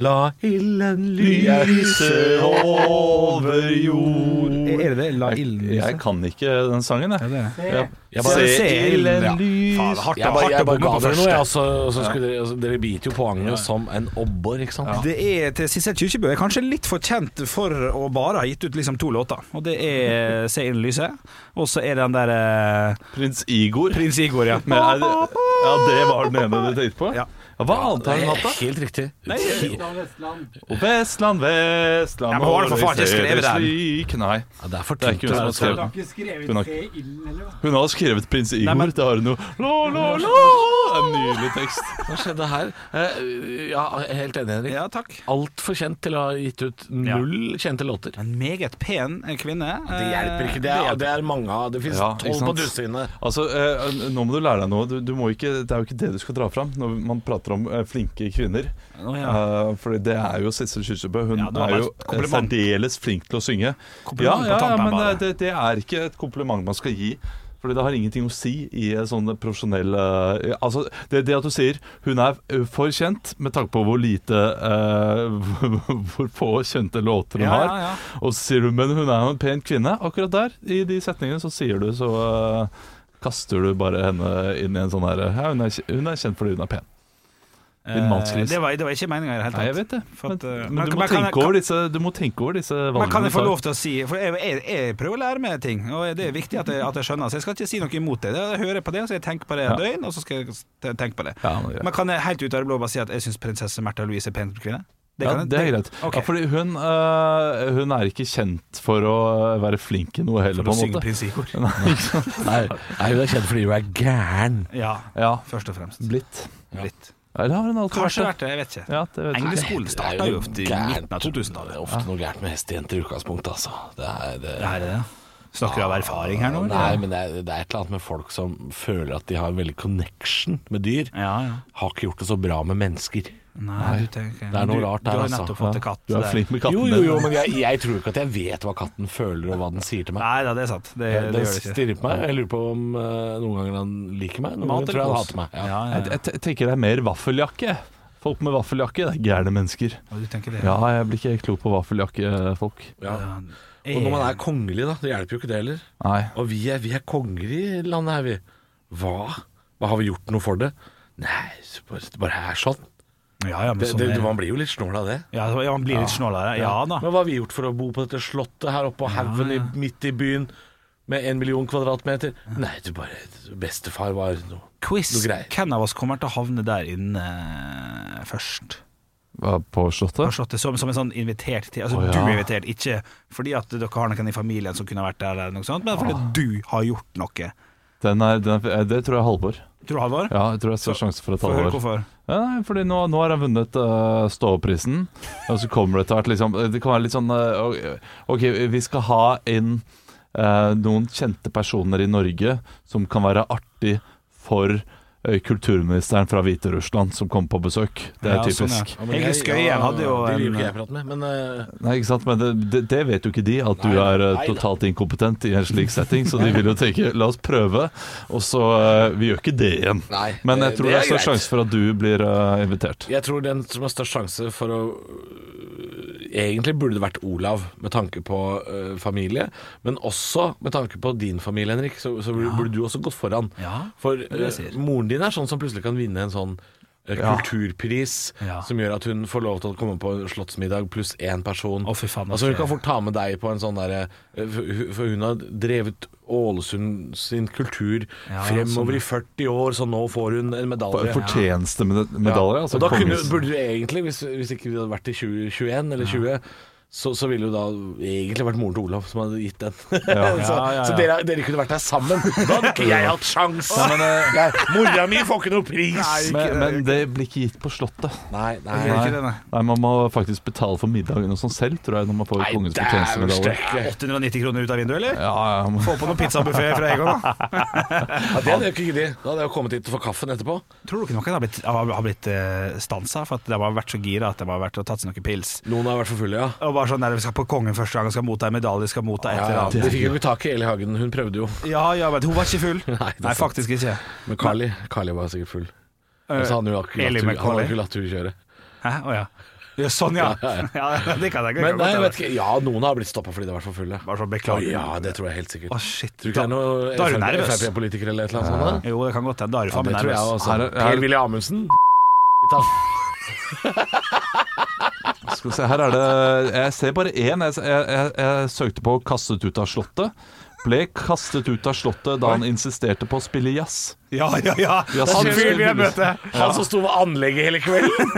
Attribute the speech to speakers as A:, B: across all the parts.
A: La ilden lyse over jord
B: Er det det? La ilden lyse?
A: Jeg kan ikke den sangen, jeg.
B: det er det.
A: jeg, jeg
B: Se-
A: bare
B: se ilden, ja.
A: ilden
C: Faen,
A: lyse
C: hardt, jeg bare, jeg bare ga dere noe, jeg, altså, og så skulle dere, altså, dere biter jo poenget som en obbor, ikke sant?
B: Det er til Sissel Kyrkjebø. Er kanskje litt for kjent for å bare ha gitt ut liksom to låter. Og det er Se inn i lyset, og så er den der eh,
A: Prins Igor.
B: Prins Igor, ja.
A: Men er det, ja, det var den ene du tenkte på?
B: Ja.
A: Hva annet har hun hatt, da?
C: Helt riktig.
A: Og Vestland, Vestland
B: Ja, men hun har da for faen ikke
A: ser det
B: skrevet den.
A: slik. Nei,
C: Ja, det er for
A: det er
C: tynt.
A: ikke hun som har skrevet den. Hun har, hun har skrevet Prins Igor.
B: men-
A: Det har hun jo. La, la, la. En nydelig tekst.
C: Hva skjedde her? Eh, Ja, jeg er helt enig, Henrik.
B: Ja, takk.
C: Altfor kjent til å ha gitt ut null kjente låter. Eh,
B: En meget pen eh, kvinne.
C: Det hjelper ikke. Det er, det er mange av Det fins
A: Ja, ikke
C: tolv
A: sant?
C: på dusinnet.
A: Altså, eh, Nå må du lære deg noe. Du, du må ikke, det er jo ikke det du skal dra fram når man prater om eh, flinke kvinner.
B: Å, ja.
A: Eh, for det er jo Sissel Kyrkjebø. Hun
B: Ja, det var
A: er
B: bare
A: jo
B: et kompliment.
A: særdeles flink til å synge. Ja,
B: Kompliment på
A: ja, ja,
B: tampen
A: men
B: bare.
A: eh, det, det er ikke et kompliment man skal gi. Fordi det har ingenting å si i en sånn profesjonell eh, ja, Altså, det, det at du sier hun er eh, for kjent med tanke på hvor lite eh, Hvor få kjente låter hun
B: Ja,
A: har.
B: ja, ja.
A: Og så sier du, men hun er jo en pen kvinne Akkurat der, i de setningene så sier du Så eh, kaster du bare henne inn i en sånn her ja, hun, er, kj- hun er kjent fordi hun er pen Din mannsgris
B: Eh, Det var, det var ikke meninga i det hele
A: Nei, jeg
B: tatt.
A: vet det
B: For
A: Men,
B: at, eh,
A: men
B: men-
A: du, må
B: men kan jeg-
A: tenke over disse, du må tenke over disse valgene
B: Men kan jeg få
A: du tar.
B: lov til å si For jeg, jeg, jeg prøver å lære meg ting, og det er viktig at jeg, at jeg skjønner. Så jeg skal ikke si noe imot det. Jeg hører på det, så jeg tenker på det et
A: Ja.
B: døgn, og så skal jeg te- tenke på det.
A: Ja, men det er greit.
B: men kan jeg helt ut av det blå bare si at jeg syns prinsesse Märtha Louise er pen kvinne?
A: ja,
B: kan jeg-
A: det er greit
B: Ok.
A: ja, Fordi hun, eh, hun er ikke kjent for å være flink i noe heller
B: For å
A: på en
B: synge
A: måte
B: prins Igor.
C: Nei, nei, hun er kjent fordi hun er gæren.
B: Ja,
A: Ja,
B: først og fremst.
A: blitt
B: Litt.
A: Eller har hun alltid
B: Kanskje vært
A: vært det?
B: det, jeg vet ikke.
A: Ja, det vet jeg ikke.
B: Engleskolen starta jo i midten av 2000-tallet.
C: Det er ofte noe gærent med hestejenter i utgangspunktet, altså. Det er, det,
B: Det er det. Snakker vi av erfaring her nå? eller?
C: Nei, men det er, det er et eller annet med folk som føler at de har en veldig connection med dyr.
B: Ja, ja.
C: Har ikke gjort det så bra med mennesker.
B: Nei, du tenker
C: Det er noe
B: Du-
C: rart
B: Du
C: her,
B: har
C: altså.
B: nettopp fått en katt.
A: Du er
B: det-
A: flink med katten
C: Jo, jo,
A: din.
C: jo, men jeg, jeg tror ikke at jeg vet hva katten føler og hva den sier til meg.
B: Nei da, det er sant. Det, det,
C: Den
B: gjør det ikke.
C: stirrer på meg. Jeg lurer på om eh, noen ganger han liker meg, noen
B: Mat
C: ganger
B: eller
C: tror jeg han
B: kos?
C: hater meg.
B: Ja,
C: Ja.
B: ja,
A: Jeg, jeg te- tenker det er mer vaffeljakke. Folk med vaffeljakke, det er gærne mennesker.
B: ja. Du tenker det.
A: Ja, jeg blir ikke klok på vaffeljakkefolk.
C: Ja.
B: Eh,
C: Og når man er kongelig, da, det hjelper jo ikke det heller.
A: Nei.
C: Og vi er, vi er konger i landet her, vi. Hva? Hva har vi gjort noe for det? Nei, så bare, det bare er sånn.
B: Ja, ja, men
C: Det,
B: sånn
C: det,
B: er-
C: man blir jo litt snål av det.
B: ja, så- ja, man blir litt snål av det. Ja da.
C: Men hva har vi gjort for å bo på dette slottet her oppe på haugen i- midt i byen med en million kvadratmeter? Nei, du bare Bestefar var noe
B: Quiz.
C: noe greier.
B: Hvem av oss kommer til å havne der inne eh, først?
A: Hva, På
B: Har
A: Slottet?
B: slått det som, som en sånn invitert til Altså,
A: Å, ja.
B: du er invitert, ikke fordi at dere har noen i familien som kunne vært der, eller noe sånt, men fordi du har gjort noe.
A: Den er, den er, eh, det tror jeg er Halvor.
B: Tror du, Halvor?
A: Ja, jeg tror jeg står sjanse for et
B: Få høre
A: Halvor.
B: hvorfor.
A: Ja, nei, fordi nå, nå har han vunnet uh, ståprisen, og så kommer det etter hvert liksom Det kan være litt sånn eh, OK, vi skal ha inn eh, noen kjente personer i Norge som kan være artig for eh, kulturministeren fra Hviterussland som kommer på besøk. Det er
B: Ja, sånn, ja.
A: typisk.
B: Hege Skøyen hadde jo
C: Det vil
B: en-
C: jo ikke jeg prate med, men eh,
A: Nei, ikke sant, men det, det, det vet jo ikke de, at du
C: Nei,
A: er eh,
C: nei da.
A: totalt inkompetent i en slik setting. Så de vil jo tenke 'la oss prøve', og så eh, Vi gjør ikke det igjen.
C: Nei,
A: men
C: det-
A: jeg tror det
C: det er
A: er stor
C: greit.
A: sjanse for at du blir eh, invitert.
C: jeg tror den som har størst sjanse for å øh, Egentlig burde det vært Olav, med tanke på øh, familie, men også med tanke på din familie, Henrik, så, så burde burde du også gått foran.
B: Ja,
C: For
B: er det jeg
C: øh,
B: sier.
C: moren din er sånn som plutselig kan vinne en sånn øh, Kulturpris
B: Ja.
C: som gjør at hun får lov til å komme på en slottsmiddag pluss én person.
B: Å, fy faen,
C: altså Hun
B: ok.
C: kan fort ta med deg på en sånn derre øh, For for hun har drevet Ålesund sin kultur
B: Ja,
C: fremover i 40 år, så nå får hun en medalje.
A: Fortjenestemedalje,
C: Ja,
A: altså.
C: og da kunne,
A: kongens-
C: burde du egentlig, hvis, hvis ikke vi hadde vært i 2021 eller 20, så, så ville jo da egentlig vært moren til Olav som hadde gitt den. så
B: Ja, ja, ja.
C: så dere, dere kunne vært der sammen. Da hadde ikke jeg hatt sjans!
B: eh,
C: Jeg- Mora mi får ikke noe pris! Nei,
A: men, men det blir ikke gitt på Slottet.
C: nei, nei.
B: Gjør ikke det, nei.
A: Nei, Man må faktisk betale for middagen og sånn selv, tror jeg, når man får kongens
C: dæven
A: fortjenestemedalje.
C: stekke.
B: 890 kroner ut av vinduet, eller?
A: Ja, ja, men-
B: Få på noe pizzabuffé fra Egon, da.
C: Ja, det hadde jeg ikke giddet. Da hadde jeg kommet hit og fått kaffen etterpå.
B: Tror du ikke noen har blitt, eh, har- har blitt stansa for at de har vært så gira at de har vært og tatt seg noen pils?
C: Noen har vært for fulle, ja.
B: Og bare var sånn der, vi skal på Kongen første gang, skal motta en medalje, skal motta et
C: Ja,
B: eller
C: ja,
B: annet.
C: de fikk jo ikke tak i Eli Hagen, hun prøvde jo.
B: Ja, ja, men hun var ikke full.
C: Nei, det er
B: Nei,
C: sant.
B: faktisk ikke.
C: Men Carly, Carly var sikkert full. Men så hadde hun jo ikke
B: Eh, Eli
C: latt hun- han
B: McCauley.
C: hadde ikke latt hun kjøre.
B: Hæ, å ja. ja. Sånn, ja.
C: Ja, ja,
B: ja. det kan jeg ikke
C: Men nei, jeg vet ikke, ja, noen har blitt stoppa fordi de har vært for fulle.
B: Bare sånn
C: Å
B: beklager.
C: ja, det tror jeg helt sikkert.
B: Å, shit.
C: Tror du ikke det er noen
B: Da er du nervøs.
C: Frp-politiker eller et eller annet sånt? da?
B: Jo, det kan godt hende. Da er du faen meg
C: det tror jeg
B: nervøs.
C: også.
A: Her er- her er-
C: Per-Willy Amundsen.
A: Skal vi se, her er det Jeg ser bare én. Jeg, jeg, jeg, jeg søkte på 'kastet ut av Slottet'. Ble kastet ut av Slottet da han insisterte på å spille jazz.
B: Ja, ja, ja.
A: Ja,
B: Han
A: seriøst.
B: fyren vi har møtt.
C: Han som sto ved anlegget hele kvelden.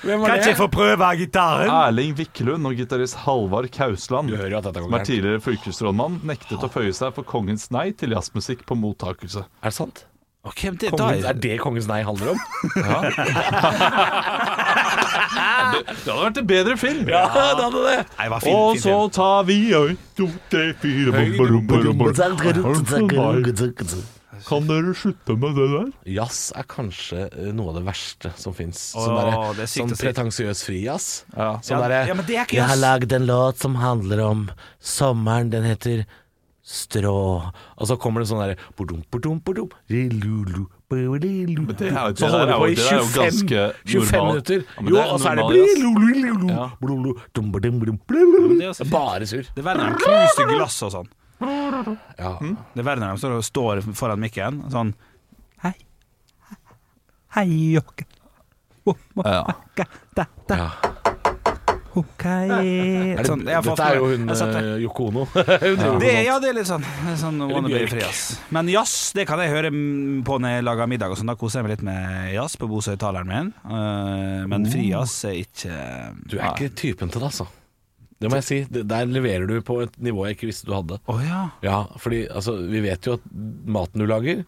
C: Hvem
B: Kan ikke jeg få prøve gitaren?
A: Erling Wiklund og gitarist Halvard Kausland,
C: Du hører jo at dette går
A: som er
C: gærent.
A: tidligere fylkesrådmann, nektet å føye seg for kongens nei til jazzmusikk på mottakelse.
C: Er det sant?
B: Ok, men det, da
C: Kongens,
B: er
C: er det Kongens nei handler om?
A: Det hadde vært en bedre film!
C: Ja, det hadde det.
B: Nei, det var fint,
A: Og
B: fint,
A: så
B: fint.
A: tar vi en, to, tre, fire bom, bom, bom,
C: Sånn,
A: bom, bom. Kan dere slutte med det der?
C: Jazz er kanskje eh, noe av det verste som fins.
B: Åh, det er sykt
C: sånn
B: å si.
C: pretensiøs frijazz.
A: Ja.
C: Sånn
B: Ja,
C: derre
B: ja, men det er ikke
C: Jeg har
B: jazz.
C: lagd en låt som handler om sommeren. Den heter Strå. Og så kommer det sånn derre Bodum, bodum, bodum, rilulu, bodilu.
A: det er jo-
C: Så
A: det
C: holder det
A: er
C: på
A: jo-
C: i
A: det er jo
C: 25,
A: ganske
C: 25
A: normal.
C: minutter.
A: Ja, men
C: Jo,
A: det er
C: og så er det
A: normal jazz.
C: brilululu,
A: Ja.
C: blulu, dum, badum, badum, blulu.
B: det er også fint.
C: Bare sur.
B: det Hmm? er verre når de knuser glass og sånn.
C: Ja.
B: Det er verre når de står, og står foran mikken sånn Hei. Hei, Jokke. Wo- wo-
A: Ja.
B: ka- da- da-
C: Ja.
B: ok. Sånn, jeg har fått
C: Dette er jo
B: med-
C: hun
B: jeg satte-
C: eh, Yoko Ono. Hun driver med
B: Det,
C: sånt.
B: ja, det er litt sånn, sånn wannabe
C: Bjørk.
B: fri, ass. Men jazz, det kan jeg høre mm, på når jeg lager middag og sånn. Da koser jeg meg litt med jazz på Bosøytaleren min. Eh, men frijazz er ikke
C: Oh. Du er ikke typen til det, altså. Det må jeg si. Det- Der leverer du på et nivå jeg ikke visste du hadde.
B: Å ja.
C: Ja, fordi altså, vi vet jo at maten du lager,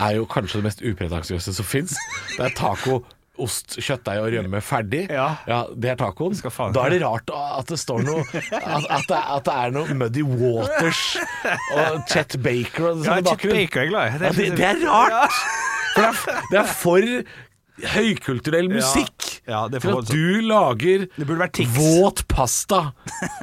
C: er jo kanskje det mest upretensiøse som fins. Det er taco, ost, kjøttdeig og rømme ferdig.
B: Ja.
C: Det er tacoen.
B: Skal faen-
C: Da er det rart at det står noe At, at, det, at det er noe Muddy Waters og Chet Baker og
B: ja
C: sånn i
B: Chet
C: bakgrunnen.
B: Baker er jeg glad i.
C: Ja, det, det er rart! For det er, det er for høykulturell musikk.
B: Ja, det er for
C: for at du lager
B: Det burde vært Tix.
C: våt pasta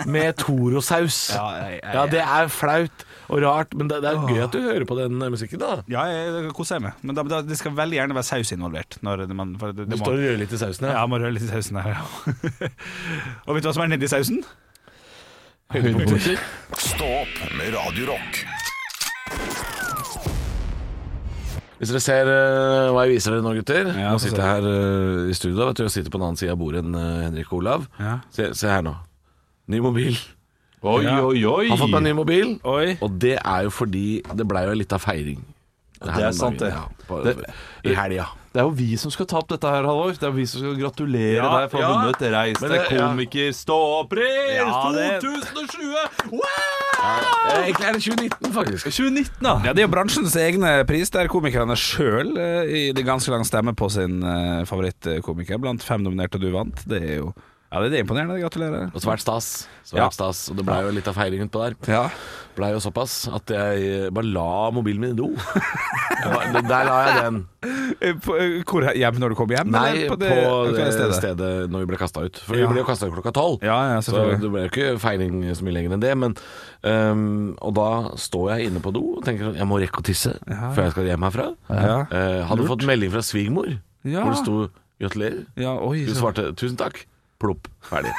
C: med torosaus.
B: Ja, jeg- jeg-
C: Ja, det er flaut og rart, men det, det er gøy at du hører på den eh, musikken, da.
B: Ja, jeg jeg koser meg. Men da, da, det skal veldig gjerne være saus involvert. Når det- man, for det,
C: Du
B: det må,
C: står og rører litt i sausen
B: ja,
C: her.
B: jeg må røre litt i sausen her, ja. og vet du hva som er nedi sausen?
A: Høydepunkter.
D: Stå opp med Radio Rock.
C: Hvis dere ser eh, hva jeg viser dere nå, gutter
B: Ja,
C: Nå
B: få se.
C: sitter jeg her eh, i studio vet du, og sitter på den annen side av bordet enn eh, Henrik og Olav.
B: Ja.
C: Se, se her nå. Ny mobil.
A: Oi, oi, oi!
C: Har fått meg ny mobil.
B: Oi.
C: Og det er jo fordi det blei jo en lita feiring. Det,
A: er sant, det.
C: på,
A: Det-
C: I helga.
A: Det er jo vi som skal ta opp dette her, Halvor. Det er jo vi som skal gratulere
B: Ja,
A: deg for å ha
B: ja.
A: vunnet Reis
C: Men
A: deg
C: det- ja.
A: komiker ståpris
B: Ja, det-
A: 2020! Wow!
C: Eh, Egentlig er det 2019, faktisk.
A: 2019,
C: Ah.
A: da.
B: Ja, Det er jo bransjens egne pris, der komikerne sjøl i det ganske lang stemme på sin eh, favorittkomiker. Blant fem nominerte, og du vant. Det er jo ja, det er imponerende. Gratulerer.
C: Og svært stas. Svært
B: Ja.
C: stas. Og det blei jo litt av feiring utpå der.
B: Ja.
C: Blei jo såpass at jeg eh, bare la mobilen min i do. Jeg bare- Der la jeg den.
B: Eh, på, eh, Hvor hjem når du kom hjem?
C: Nei,
B: eller
C: på det,
B: aktuelle
C: stedet. når vi ble kasta ut. For
B: Ja.
C: vi ble jo kasta ut klokka tolv.
B: Ja, ja,
C: så
B: selvfølgelig.
C: det ble jo ikke feiring så mye lenger enn det. Men, øhm, og da står jeg inne på do og tenker sånn Jeg må rekke å tisse før jeg skal hjem herfra.
B: Ja.
C: Eh, hadde fått melding fra svigermor
B: Ja.
C: hvor det sto 'gratulerer'.
B: Ja, oi,
C: Hun
B: så-
C: svarte 'tusen takk'. Plopp. Ferdig.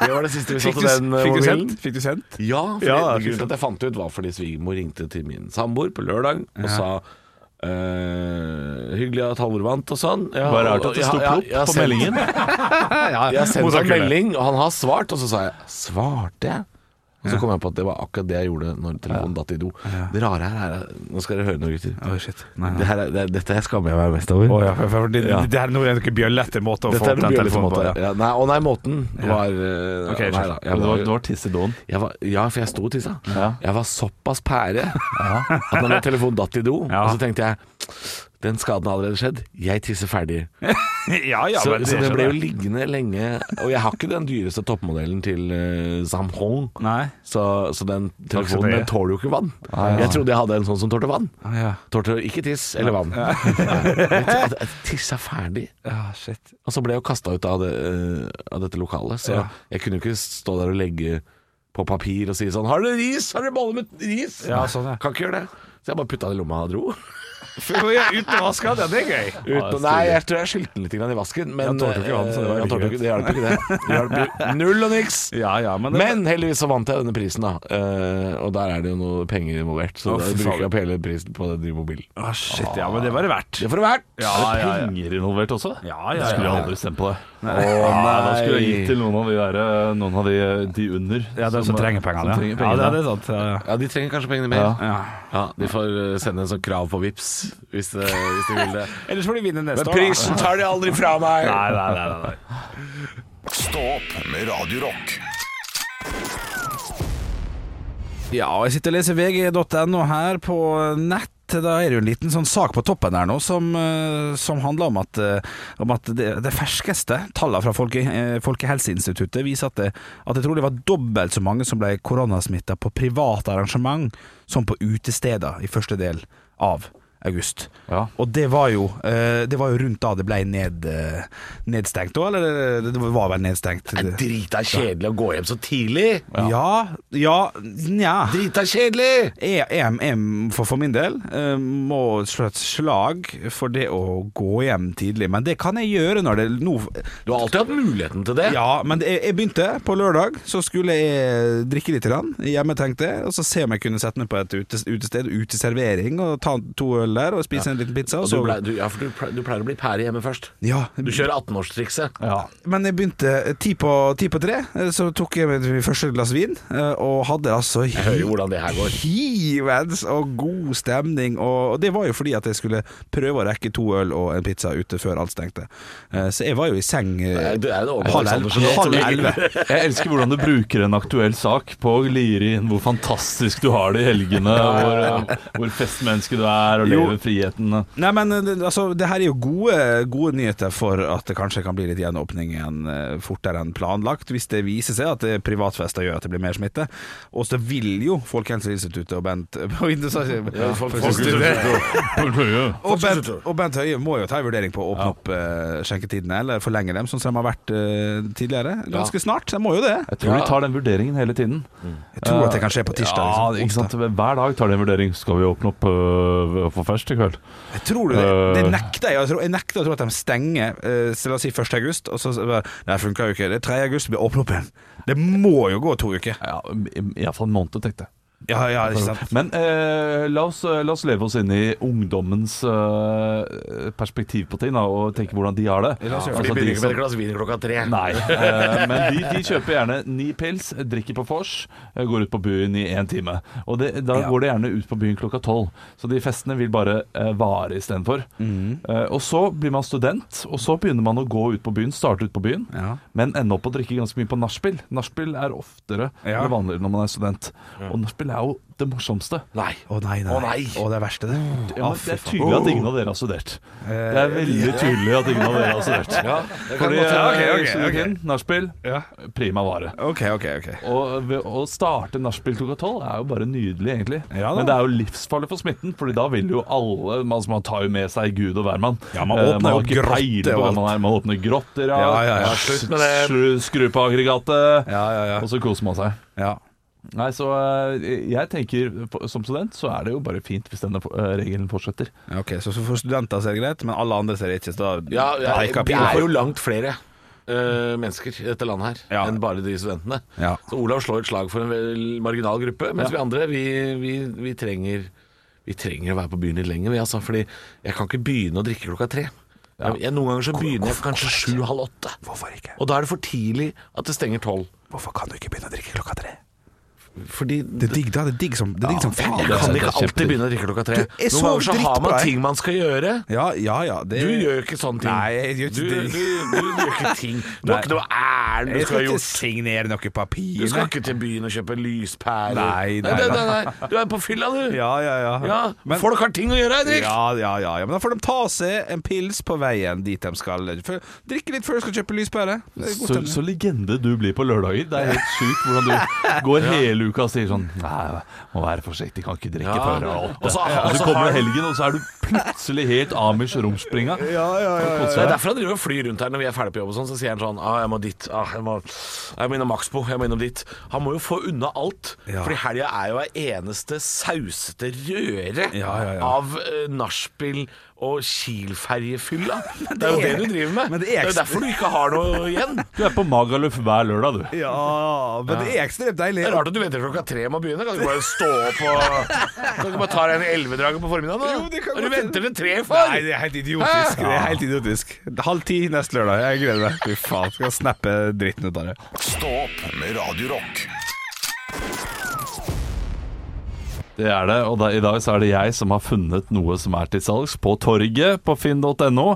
C: Det var det siste vi så
B: Fikk
C: til
B: du,
C: den eh,
B: fikk, du
C: mobilen.
B: sendt, fikk du sendt?
C: Ja, for
B: Ja,
C: det,
B: det er
C: grunnen til at jeg fant det ut var fordi svigermor ringte til min samboer på lørdag og sa eh, hyggelig at Halvor vant og sånn. Ja,
A: Bare rart
C: og-
A: at det
C: ja,
A: sto
C: ja,
A: plopp
C: jeg har
A: på
C: sendt-
A: meldingen.
C: Jeg har sendt en
B: Mottakerne.
C: melding, og han har svart, og så sa jeg 'svarte jeg'? Og så kom jeg på at det var akkurat det jeg gjorde når telefonen datt i do. Det rare her er Nå skal dere høre noe, gutter.
B: Oi, shit. Nei,
C: Det
B: nei.
C: her er, det, er- dette her skammer jeg meg mest over.
B: Å, ja, for, for, det,
C: Ja.
B: det her nå er noen bjøllete måte å
C: Dette
B: få
C: er
B: opp
C: den
B: den
C: bjøllete
B: telefonen på.
C: måten.
B: Ja.
C: Ja, nei, og nei, måten var eh,
B: Ok,
C: Nei
B: skjønner.
C: da.
A: Ja,
C: Jeg
A: det var, det
C: var,
A: var tiss i doen.
C: jeg var, ja, for jeg sto og tissa.
A: Ja.
C: Jeg var såpass pære at når den telefonen datt i do,
B: Ja.
C: og så tenkte jeg den skaden har allerede skjedd, jeg tisser ferdig.
B: ja, ja,
E: så,
B: men
E: så det
B: skjønner
E: ble jo
B: jeg.
E: liggende lenge. Og jeg har ikke den dyreste toppmodellen til uh, Samhong.
B: Nei.
E: Så, så den
B: så mye.
E: telefonen den tåler jo ikke vann. Jeg trodde jeg hadde en sånn som tålte vann.
B: Ah, ja.
E: Tålte ikke tiss eller vann. Jeg tissa ferdig,
B: Ah, shit.
E: og så ble jeg jo kasta ut av, det, eh, av dette lokalet. Så
B: Ja.
E: jeg kunne jo ikke stå der og legge på papir og si sånn 'Har dere ris? Har dere boller med ris?'
B: Ja, sånn, ja.
E: Kan ikke gjøre det. Så jeg bare putta det i lomma og dro.
B: Fy, ja, Uten å vaske av det, det er gøy.
E: Uten, nei, jeg tror jeg skylte den litt grann i vasken, men
B: Jeg tålte jo ikke vann, så det var
E: eh, jeg
B: like
E: tålte jo
B: greit.
E: ikke- det hjalp ikke det. Det hjalp jo null og niks.
B: Ja, ja, men, det,
E: Men heldigvis så vant jeg denne prisen, da. Eh, og der er det jo noe penger involvert, så
B: Å,
E: da
B: fy
E: bruker
B: faen.
E: jeg opp hele prisen på den nye mobilen.
B: ah, shit, ja, men det var det verdt.
E: Det får det vært!
B: Ja,
A: Er
B: ja,
A: det
B: ja.
A: penger involvert også?
B: Ja, ja,
A: Jeg skulle
B: ja, ja.
A: aldri stemt på det.
E: Å
A: Nei, da skulle jeg
E: nei.
A: gitt til noen av de, der, eh, noen av de, de under.
B: Ja, de som, trenger pengene.
A: som eh,
B: Ja. ja,
A: trenger pengene.
B: det er sant. Ja, ja.
E: Ja, de trenger kanskje pengene mer. Ja. De får eh, sende en sånn krav på VIPs hvis, de- hvis de vil det.
B: Ellers får de vinne neste år.
E: Men
B: da.
E: prisen tar de aldri fra meg!
B: Nei, nei, nei, nei, nei.
D: Stå opp med Radio Rock.
B: Ja, og jeg sitter og leser vg.no her på nett. Da er det jo en liten sånn sak på toppen her nå som, eh, som handler om at, eh, om at det, det ferskeste tallene fra Folke, eh, Folkehelseinstituttet viser at det, at det trolig var dobbelt så mange som ble koronasmitta på private arrangement som på utesteder i første del av august.
A: Ja.
B: Og det var jo, eh, det var jo rundt da det ble ned, eh, nedstengt da, eller det var vel nedstengt?
E: Det er drita kjedelig å gå hjem så tidlig!
B: Ja, ja, nja.
E: Drita kjedelig!
B: Jeg, jeg, jeg for, for min del eh, må slå et slag for det å gå hjem tidlig, men det kan jeg gjøre når det nå
E: Du har alltid hatt muligheten til det.
B: ja, men jeg, jeg begynte på lørdag, så skulle jeg drikke litt grann, hjemme, tenkte jeg, og så se om jeg kunne sette meg på et utes- utested, uteservering, og ta to øl der og spise en liten pizza. Og
E: Og du,
B: så,
E: ble, du, ja, for du, ple- du pleier å bli pære hjemme først.
B: ja,
E: Du kjører 18-årstrikset.
A: Ja.
B: men jeg begynte ti på, ti på tre, eh, så tok jeg mitt første glass vin, eh, og hadde altså
E: Jeg hører jo hvordan det her går.
B: hivens og god stemning. Og og det var jo fordi at jeg skulle prøve å rekke to øl og en pizza ute før alt stengte. Eh, Så jeg var jo i seng eh,
E: Nei, du er jo det
B: halv elleve.
E: overbeviste Andersen, det er
B: halv
E: som
B: elleve.
A: Jeg elsker hvordan du bruker en aktuell sak på å lire inn hvor fantastisk du har det i helgene, hvor, eh, hvor festmenneske du er og
B: Jo.
A: lever friheten.
B: Nei, men eh, det- altså, det her er jo gode, gode nyheter for at det kanskje kan bli litt gjenåpning igjen eh, fortere enn planlagt, hvis det viser seg at det er privatfester gjør at det blir mer smitte. Og så vil jo Folkehelseinstituttet og Bent
E: Ja, folk-
B: Og Bent, og Bent Høie må jo ta en vurdering på å åpne opp eh, skjenketidene, eller forlenge dem, sånn som de har vært eh, tidligere. Ganske snart. De må jo det.
A: Jeg tror de tar den vurderingen hele tiden.
B: Jeg tror at det kan skje på Mm. tirsdag.
A: Ja,
B: liksom.
A: ikke sant? Hver dag tar de en vurdering. Skal vi åpne opp øh, for først i kveld?
B: Jeg tror det. Det
A: Øh.
B: nekter jeg. Jeg, tror, jeg nekter å tro at de stenger eh, så La oss si 1. august, og så bare, Nei, funka jo ikke. Det er 3. august, vi åpner opp igjen. Det må jo gå to uker.
A: Ja, Iallfall en måned, tenkte jeg.
B: Ja, ja, ikke sant.
A: Men eh, la, oss, la oss leve oss inn i ungdommens eh, perspektiv på ting da, og tenke hvordan de har det.
B: La oss gjøre det.
E: For de
A: Altså,
E: begynner ikke
A: som-
E: med et glass vin klokka tre.
A: Nei, eh, men de, de kjøper gjerne ni pils, drikker på vors, eh, går ut på byen i én time. Og det, da
B: Ja.
A: går de gjerne ut på byen klokka tolv. Så de festene vil bare eh, vare istedenfor.
B: Mhm.
A: Eh, og så blir man student, og så begynner man å gå ut på byen, starte ut på byen,
B: Ja.
A: men ende opp å drikke ganske mye på nachspiel. Nachspiel er oftere
B: Ja.
A: eller vanligere når man er student. Og nachspiel er jo det morsomste.
E: Nei.
B: Å nei, nei.
E: Å, nei.
B: Å, det er verste, det.
A: Ja,
B: Å,
A: men det
B: fy faen. Oh.
A: er
B: Eh,
A: tydelig at ingen av dere har studert. Det er veldig tydelig at ingen av dere har studert. Fordi
B: godt være.
A: eh,
B: Ok, ok,
A: Sudokin, nachspiel,
B: Ja.
A: prima vare.
B: OK, OK. ok
A: Og ved å starte nachspiel klokka tolv er jo bare nydelig, egentlig.
B: Ja da.
A: Men det er jo livsfarlig for smitten, Fordi da vil jo alle Man, man tar jo med seg gud og hvermann.
B: Ja, man
A: Eh,
B: åpner
A: har
B: jo
A: ikke
B: grotter
A: peiling på
B: og
A: hva
B: alt.
A: Man, er. man åpner grotter, ja.
B: Ja, ja, ja.
E: Slutt med det.
A: Skru- Skru på aggregatet.
B: Ja, ja, ja.
A: Og så koser man seg.
B: ja.
A: Nei, så eh, jeg tenker på- Som student så er det jo bare fint hvis denne eh, regelen fortsetter.
B: Ja, Ok, så så for studenter ser det greit, men alle andre ser det ikke. Så da
E: Ja, ja,
B: peker
E: det
B: pila
E: er jo
B: for-
E: langt flere eh, mennesker i dette landet her
B: Ja.
E: enn bare de studentene.
B: Ja.
E: Så Olav slår et slag for en vel marginal gruppe, mens vi andre, vi, vi, vi trenger Vi trenger å være på byen litt lenger, vi, altså. Fordi jeg kan ikke begynne å drikke klokka tre. Jeg, jeg, noen ganger så begynner jeg kanskje sju-halv åtte.
B: Hvorfor ikke?
E: Og da er det for tidlig at det stenger tolv.
B: Hvorfor kan du ikke begynne å drikke klokka tre?
E: Fordi
B: Det er digg, da. Det er digg som, det er digg som faen.
E: Jeg kan ikke alltid begynne å drikke klokka tre.
B: Du er så
E: Noen ganger så har man
B: drittbra, jeg.
E: ting man skal gjøre.
B: Ja, ja, ja. Det,
E: Du gjør jo ikke sånne ting.
B: Nei, jeg gjør ikke
E: du,
B: det.
E: Du, du, du gjør ikke ting. Du har
B: Nei.
E: ikke noe ærend du
B: Jeg
E: skal ha
B: skal ikke
E: gjort.
B: signere noe papir.
E: Du skal
B: nei.
E: ikke til byen og kjøpe lyspærer.
B: Nei, nei,
E: nei, nei, nei. Du er på fylla, du.
B: Ja, ja, ja.
E: Ja,
B: Men-
E: Folk har ting å gjøre, Henrik.
B: Ja, ja, ja, ja, men da får de ta seg en pils på veien dit de skal. For, drikke litt før de skal kjøpe lyspære. Det er god
A: Så,
B: stemning.
A: så legende du blir på lørdager. Det er helt sjukt hvordan du går hele uka og sier sånn Nei, må være forsiktig, kan ikke drikke
E: Ja.
A: før åtte.
E: Og så- og
A: Og
E: så
A: så kommer
E: har-
A: helgen, og så er du plutselig helt Amish romspringa.
E: Så det er derfor han driver og flyr rundt her når vi er ferdig på jobb og sånn. Så sier han sånn ah, 'Jeg må dit. Ah, jeg, må, jeg må innom Maxbo. Jeg må innom dit.' Han må jo få unna alt.
B: Ja.
E: Fordi helga er jo ei eneste sausete røre
B: Ja, ja, ja.
E: av eh, nachspiel og Kiel-ferjefylla. Det, er jo det
B: er-
E: du driver med.
B: men det
E: det,
B: er
E: er
B: ekstra-
E: jo derfor du ikke har noe igjen.
A: Du er på Magaluf hver lørdag, du.
B: Ja, men det er ekstremt deilig.
E: Det er rart at du venter til klokka tre med å begynne. Kan du ikke bare stå opp og Kan du ikke bare ta deg en elvedraget på formiddagen? Da?
B: Jo, det kan
E: Og
B: godt
E: du
B: hende.
E: venter til tre, far!
B: Nei, det er helt idiotisk. Det er helt idiotisk. Halv ti neste lørdag. Jeg gleder meg. Fy faen, skal snappe dritten ut av det.
D: Stå opp med Radio Rock.
A: Det er det, og da, i dag så er det jeg som har funnet noe som er til salgs på torget på finn.no.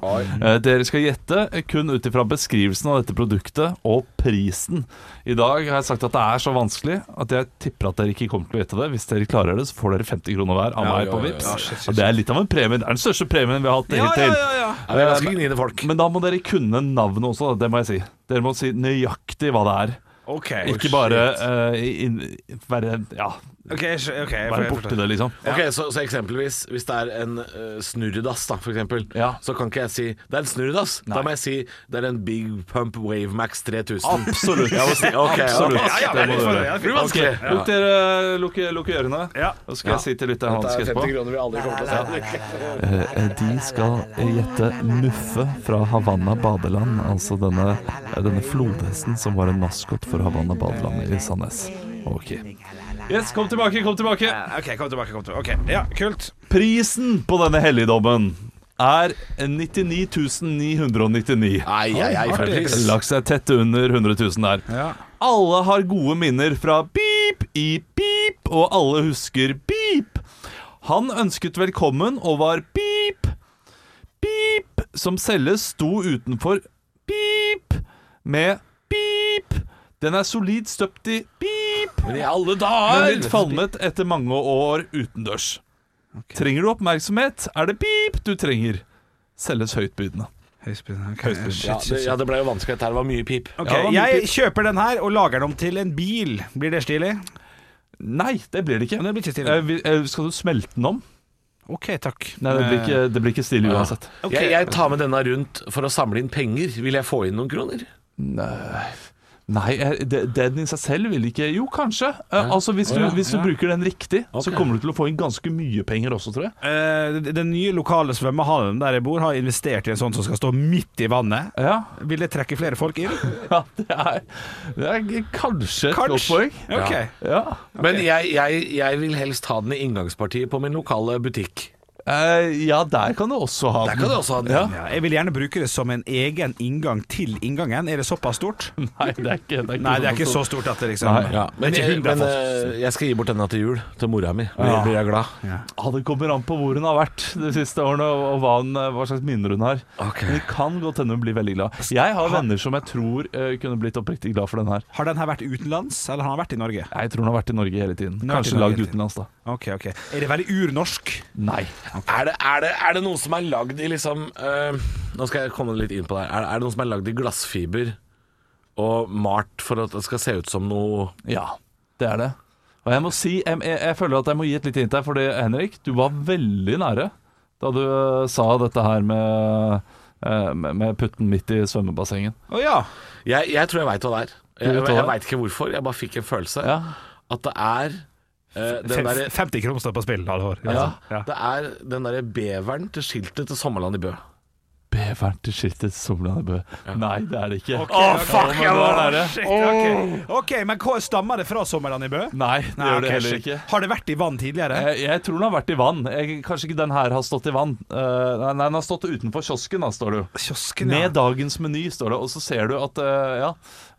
A: Eh, dere skal gjette eh, kun ut ifra beskrivelsen av dette produktet og prisen. I dag har jeg sagt at det er så vanskelig at jeg tipper at dere ikke kommer til å gjette det. Hvis dere klarer det, så får dere 50 kroner hver av
E: Ja,
A: meg
E: ja,
A: på
E: ja, ja.
A: Vipps.
E: Ja, shit, shit,
A: Og det er litt av en premie. Det er den største premien vi har hatt hittil.
E: Ja, det er ganske gniende folk.
A: Men da må dere kunne navnet også, da. det må jeg si. Dere må si nøyaktig hva det er.
B: OK.
A: Ikke bare eh, inn, være, ja,
B: Ok, skj- ok, jeg får-
A: være borti det, liksom.
E: Ok, så, så eksempelvis Hvis det er en eh, snurredass da, for eksempel
A: Ja.
E: Så kan ikke jeg si Det er en snurredass Da må jeg si Det er en Big Pump Wave Max 3000
A: Absolutt.
E: Jeg må si Ok,
A: Absolutt.
E: ok.
B: Ja, ja, det er litt for- ja, det
E: blir vanskelig.
A: Ok, Lukk dere, eh, lukk, lukk ørene.
B: Ja.
A: Så skal jeg si til lytteren hva
E: Det
A: han
E: er
A: skal
E: 50
A: gjette på.
E: kroner vi aldri kommer til å se
A: Eh, De skal gjette Muffe fra Havanna badeland. Altså denne, denne flodhesten som var en maskot for Havanna badeland i Sandnes. Ok. Yes, kom tilbake, kom tilbake.
B: OK, kom tilbake. kom tilbake Ok, Ja, kult.
A: Prisen på denne helligdommen er eh, 99.999.
E: Nei, jeg er
B: artig.
E: ferdig
A: Lagt seg tett under 100 000 der.
B: Ja.
A: Alle har gode minner fra beep i beep, og alle husker beep. Han ønsket velkommen og var beep. Beep som selges sto utenfor beep med beep. Den er solid støpt i beep,
E: Men i alle
A: men
E: dager
A: litt falmet etter mange år utendørs. Trenger du oppmerksomhet, er det beep du trenger. Selges høytbydende.
B: Høyspinn. Okay.
E: ja,
B: Shit, shit,
E: det,
B: shit.
E: ja, det ble jo vanskelig Dette her var mye pip
B: Ok,
A: Ja, men-
B: Jeg kjøper den her og lager den om til en bil. Blir det stilig?
A: Nei, det blir det ikke.
B: Men det blir ikke stilig.
A: Eh, vi- eh, Skal du smelte den om?
B: OK, takk. Eh,
A: Nei, det blir ikke, det blir ikke stilig uansett.
B: Ok.
E: jeg, jeg tar med denne rundt For å samle inn penger Vil jeg få inn noen kroner?
A: Nei, Nei jeg- det- den i seg selv vil ikke Jo, kanskje. Eh, altså Hvis du, hvis du bruker den riktig, så kommer du til å få inn ganske mye penger også, tror jeg.
B: Eh, den- den nye lokale svømmehallen der jeg bor, har investert i en sånn som skal stå midt i vannet. Eh,
A: Ja,
B: Vil det trekke flere folk inn?
A: ja det, er, det er g- kanskje et godt
B: Kanskje.
A: poeng.
B: Ok.
A: Ja.
E: Men jeg, jeg, jeg vil helst ha den i inngangspartiet På min lokale butikk
A: Eh, ja, der kan du også ha
E: Der kan du også ha den
A: Ja.
B: Ja, jeg vil gjerne bruke det som en egen inngang til inngangen. Er det såpass stort?
A: Nei, det er ikke, det er ikke,
B: Nei, det er
A: sånn
B: ikke
A: som-
B: så stort at det liksom
A: Nei,
E: Ja, men,
B: Det er ikke
E: jeg,
B: hundre
E: men
B: folk.
E: eh, jeg skal gi bort denne til jul, til mora mi. Blir, blir jeg glad.
A: Ja, Det kommer an på hvor hun har vært de siste årene, og og hva, hun, hva slags minner hun har.
E: Ok.
A: Men det kan godt hende hun blir veldig glad. Jeg har venner som jeg tror eh, kunne blitt oppriktig glad for den her.
B: Har den her vært utenlands, eller har den vært i Norge?
A: Jeg tror hun har vært i Norge hele tiden.
B: har vært i
A: Kanskje
B: Norge
A: lagd
B: hele tiden.
A: utenlands, da.
B: Ok, ok Er det veldig urnorsk?
A: Nei.
E: Er, det, er, det, er det noe som er lagd i liksom eh, Nå skal jeg komme litt inn på det her. Er, det- er det noe som er lagd i glassfiber og malt for at det skal se ut som noe
A: Ja, det er det. Og jeg må si, jeg, jeg, jeg føler at jeg må gi et lite hint her, fordi Henrik, du var veldig nære da du eh, sa dette her med, eh, med, med putten midt i svømmebassengen.
B: Å ja.
E: Jeg, jeg tror jeg veit hva det er.
A: vet
E: Jeg,
A: hva det
E: jeg,
A: er?
E: veit ikke hvorfor, jeg bare fikk en følelse.
A: Ja.
E: At det er eh, den derre
B: Fem- 50 kroner står på spill. Halvor.
E: ja,
B: Ja.
E: Det er den derre beveren til skiltet til Sommerland i Bø.
A: Beveren til skittet somlende bø. Nei, det er det ikke.
B: Å, fuck,
A: jeg var der.
B: Shit, ok. ok, men hva- stammer det fra sommerland i Bø?
A: Nei, det
B: Nei,
A: gjør
B: ok,
A: det heller
B: shit.
A: ikke. Eh,
B: Har det vært i vann tidligere?
A: Jeg, jeg tror den har vært i vann. Jeg, kanskje ikke den her har stått i vann. Eh, nei, nei, den har stått utenfor kiosken, da, står det jo.
B: Kiosken,
A: Med dagens meny, står det. Og så ser du at eh, Ja,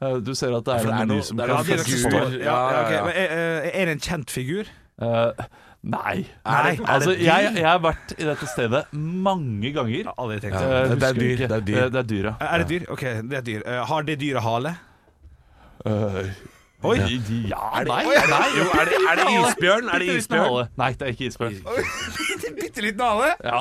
A: eh, du ser at det er
E: for det er
A: en meny
E: noe-
A: som
E: det er
A: kan
E: noe
B: Ja, de dere som
E: Figur.
B: står- ja, ja,
E: Ja, ja, ja.
B: ok. Men er, er- er det en kjent figur?
A: Eh, Nei.
B: Nei, er det
A: altså,
B: dyr?
A: jeg, jeg har vært i dette stedet mange ganger.
B: Aldri tenkt
A: Eh,
B: det.
E: Ja, det- det er
A: husker
E: dyr,
A: ikke.
E: det er dyr.
A: Eh, Det er dyr, ja.
B: Er det dyr? Ok, det er dyr. Eh, Har det dyret hale?
A: Eh,
B: Oi.
A: de- de- Ja, nei,
B: Oi, er det-
A: nei.
E: Jo, er det, er det isbjørn? Er det
A: Bitte liten
E: isbjørn?
A: hale. Nei, det er ikke isbjørn.
B: Bitte liten hale?
A: Ja.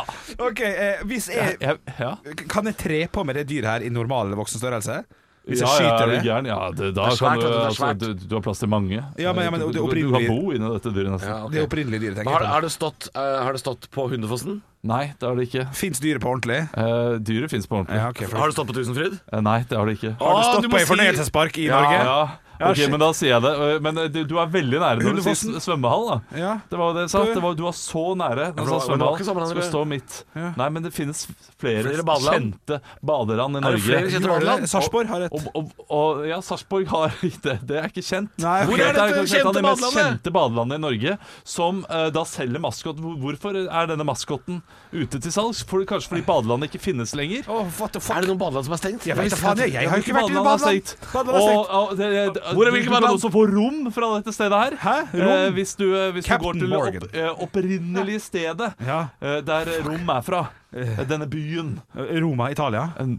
B: Ok, eh, hvis jeg
A: Jeg, ja.
B: Kan jeg tre på med det dyret her i normal voksenstørrelse? Hvis jeg
A: ja, ja,
B: skyter
A: er du
B: det?
A: gæren? Ja, det, da
E: Det er svært,
A: kan du,
E: vet du, det er
A: altså,
E: svært.
A: du, du har plass til mange.
B: Ja, men- ja, men
A: du,
B: det
A: du, du,
B: opprinnelige-
A: kan bo inni dette dyret nesten.
E: Ja, ok.
B: Det opprinnelige dyret, tenker
E: Har,
B: jeg.
E: har, det stått, eh, har det stått på Hundefossen?
A: Nei, det har det ikke.
B: Fins dyret på ordentlig?
A: Eh, dyret fins på ordentlig.
B: Ja, ok, for...
E: Har det stått på Tusenfryd?
A: Eh, nei, det har det ikke.
B: Har Ah, du
E: Å,
B: stått
E: du må
B: på en
E: si-
B: fornøyelsespark i Norge?
A: Ja,
B: Ja,
A: ok,
B: shit.
A: men da sier jeg det. Eh, Men eh, du, du er veldig nære når du sier
B: Hundefossen.
A: s- svømmehall, da.
B: Ja.
A: Det var jo det jeg sa. Det var, du var så nære.
E: Ja,
A: Når jeg
E: for det
A: sa
E: var- men det
A: svømmehall,
E: var ikke sammen,
A: skulle
E: eller?
A: stå midt.
B: Ja.
A: Nei, men det finnes flere,
E: Flere badeland.
A: kjente badeland i
E: Er det
A: Norge.
E: flere kjente
B: Gjør
E: badeland?
B: det? Sarpsborg har et
A: Og, og, og ja, Sarpsborg har ikke det. Det er ikke kjent.
B: Nei, ok.
A: Hvor er dette
E: Dette er
A: kanskje et av de mest
E: badelandet?
A: kjente badelandene i Norge, som eh, da selger maskot. Hvor- Hvorfor er denne maskoten ute til salgs? For, kanskje fordi badelandet ikke finnes lenger?
B: Åh, what the fuck?
E: Er det noen badeland som er stengt?
B: Jeg vet da faen, jeg, jeg har jo ikke vært i
A: Badelandet er
B: badeland.
A: stengt.
B: Badeland er
A: Og,
B: stengt.
A: og, det, det,
E: Hvor er
A: du, du
E: hvilket
A: kan
E: badeland?
A: også få rom fra dette stedet her.
B: Hæ? Rom?
A: Eh, hvis du, eh, hvis du
B: Captain
A: går til
B: Morgan.
A: opp, eh, opprinnelige stedet
B: Ja.
A: eh, der rom er fra. Eh, Denne byen.
B: Roma, Italia.
A: En,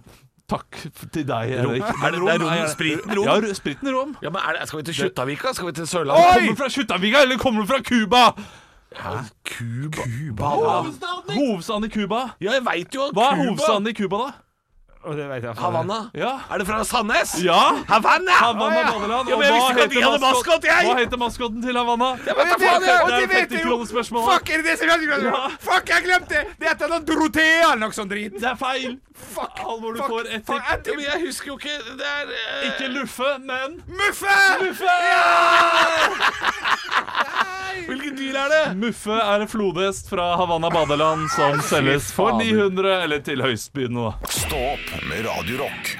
A: takk f- til deg,
E: Rom.
A: Erik.
E: Er det- det er rom,
A: Nei,
E: spriten rom?
A: Ja, ru- spriten rom.
E: Ja, men er det, Skal vi til Kjuttaviga? Skal vi til
A: Oi!
E: Sørlandet?
A: Kommer du fra Kjuttaviga, eller kommer du fra Cuba?
E: Cuba. Hovedstaden i-
A: Hovedstaden i Cuba.
E: Ja, jeg veit jo at
A: Hva er
E: Cuba-
A: hovedstaden i Cuba, da?
B: Og det vet jeg faen.
E: Havanna.
A: Ja.
E: Er det fra Sandnes?
A: Ja!
E: Havanna!
A: Havanna
E: Å, ja.
A: Badeland.
E: Ja, men jeg
A: og
E: visste ikke at de hadde
A: maskot-
E: maskot, jeg!
A: Hva heter maskoten til Havanna?
E: Jeg vet da
B: Og
E: faen, jeg!
A: det er
B: de
A: et
B: vet
A: 50
B: jo!
A: kronespørsmål.
B: Fuck, er det det som er spørsmålet? Fuck, jeg glemte det! Det er et eller annet Dorothea eller noe sånt sånn drit.
A: Det er feil.
B: Fuck.
A: Alvor, du
B: fuck,
A: får ett
B: fuck,
A: til.
B: ett
E: Ja,
B: til.
E: men jeg husker jo ikke Det er eh,
A: Ikke luffe, men
B: Muffe!
A: Muffe!
E: Hvilket dyr er det?
A: Muffe er en flodhest fra Havanna badeland som selges for 900, eller til høystbyen nå.
D: Stå opp med Radio Rock.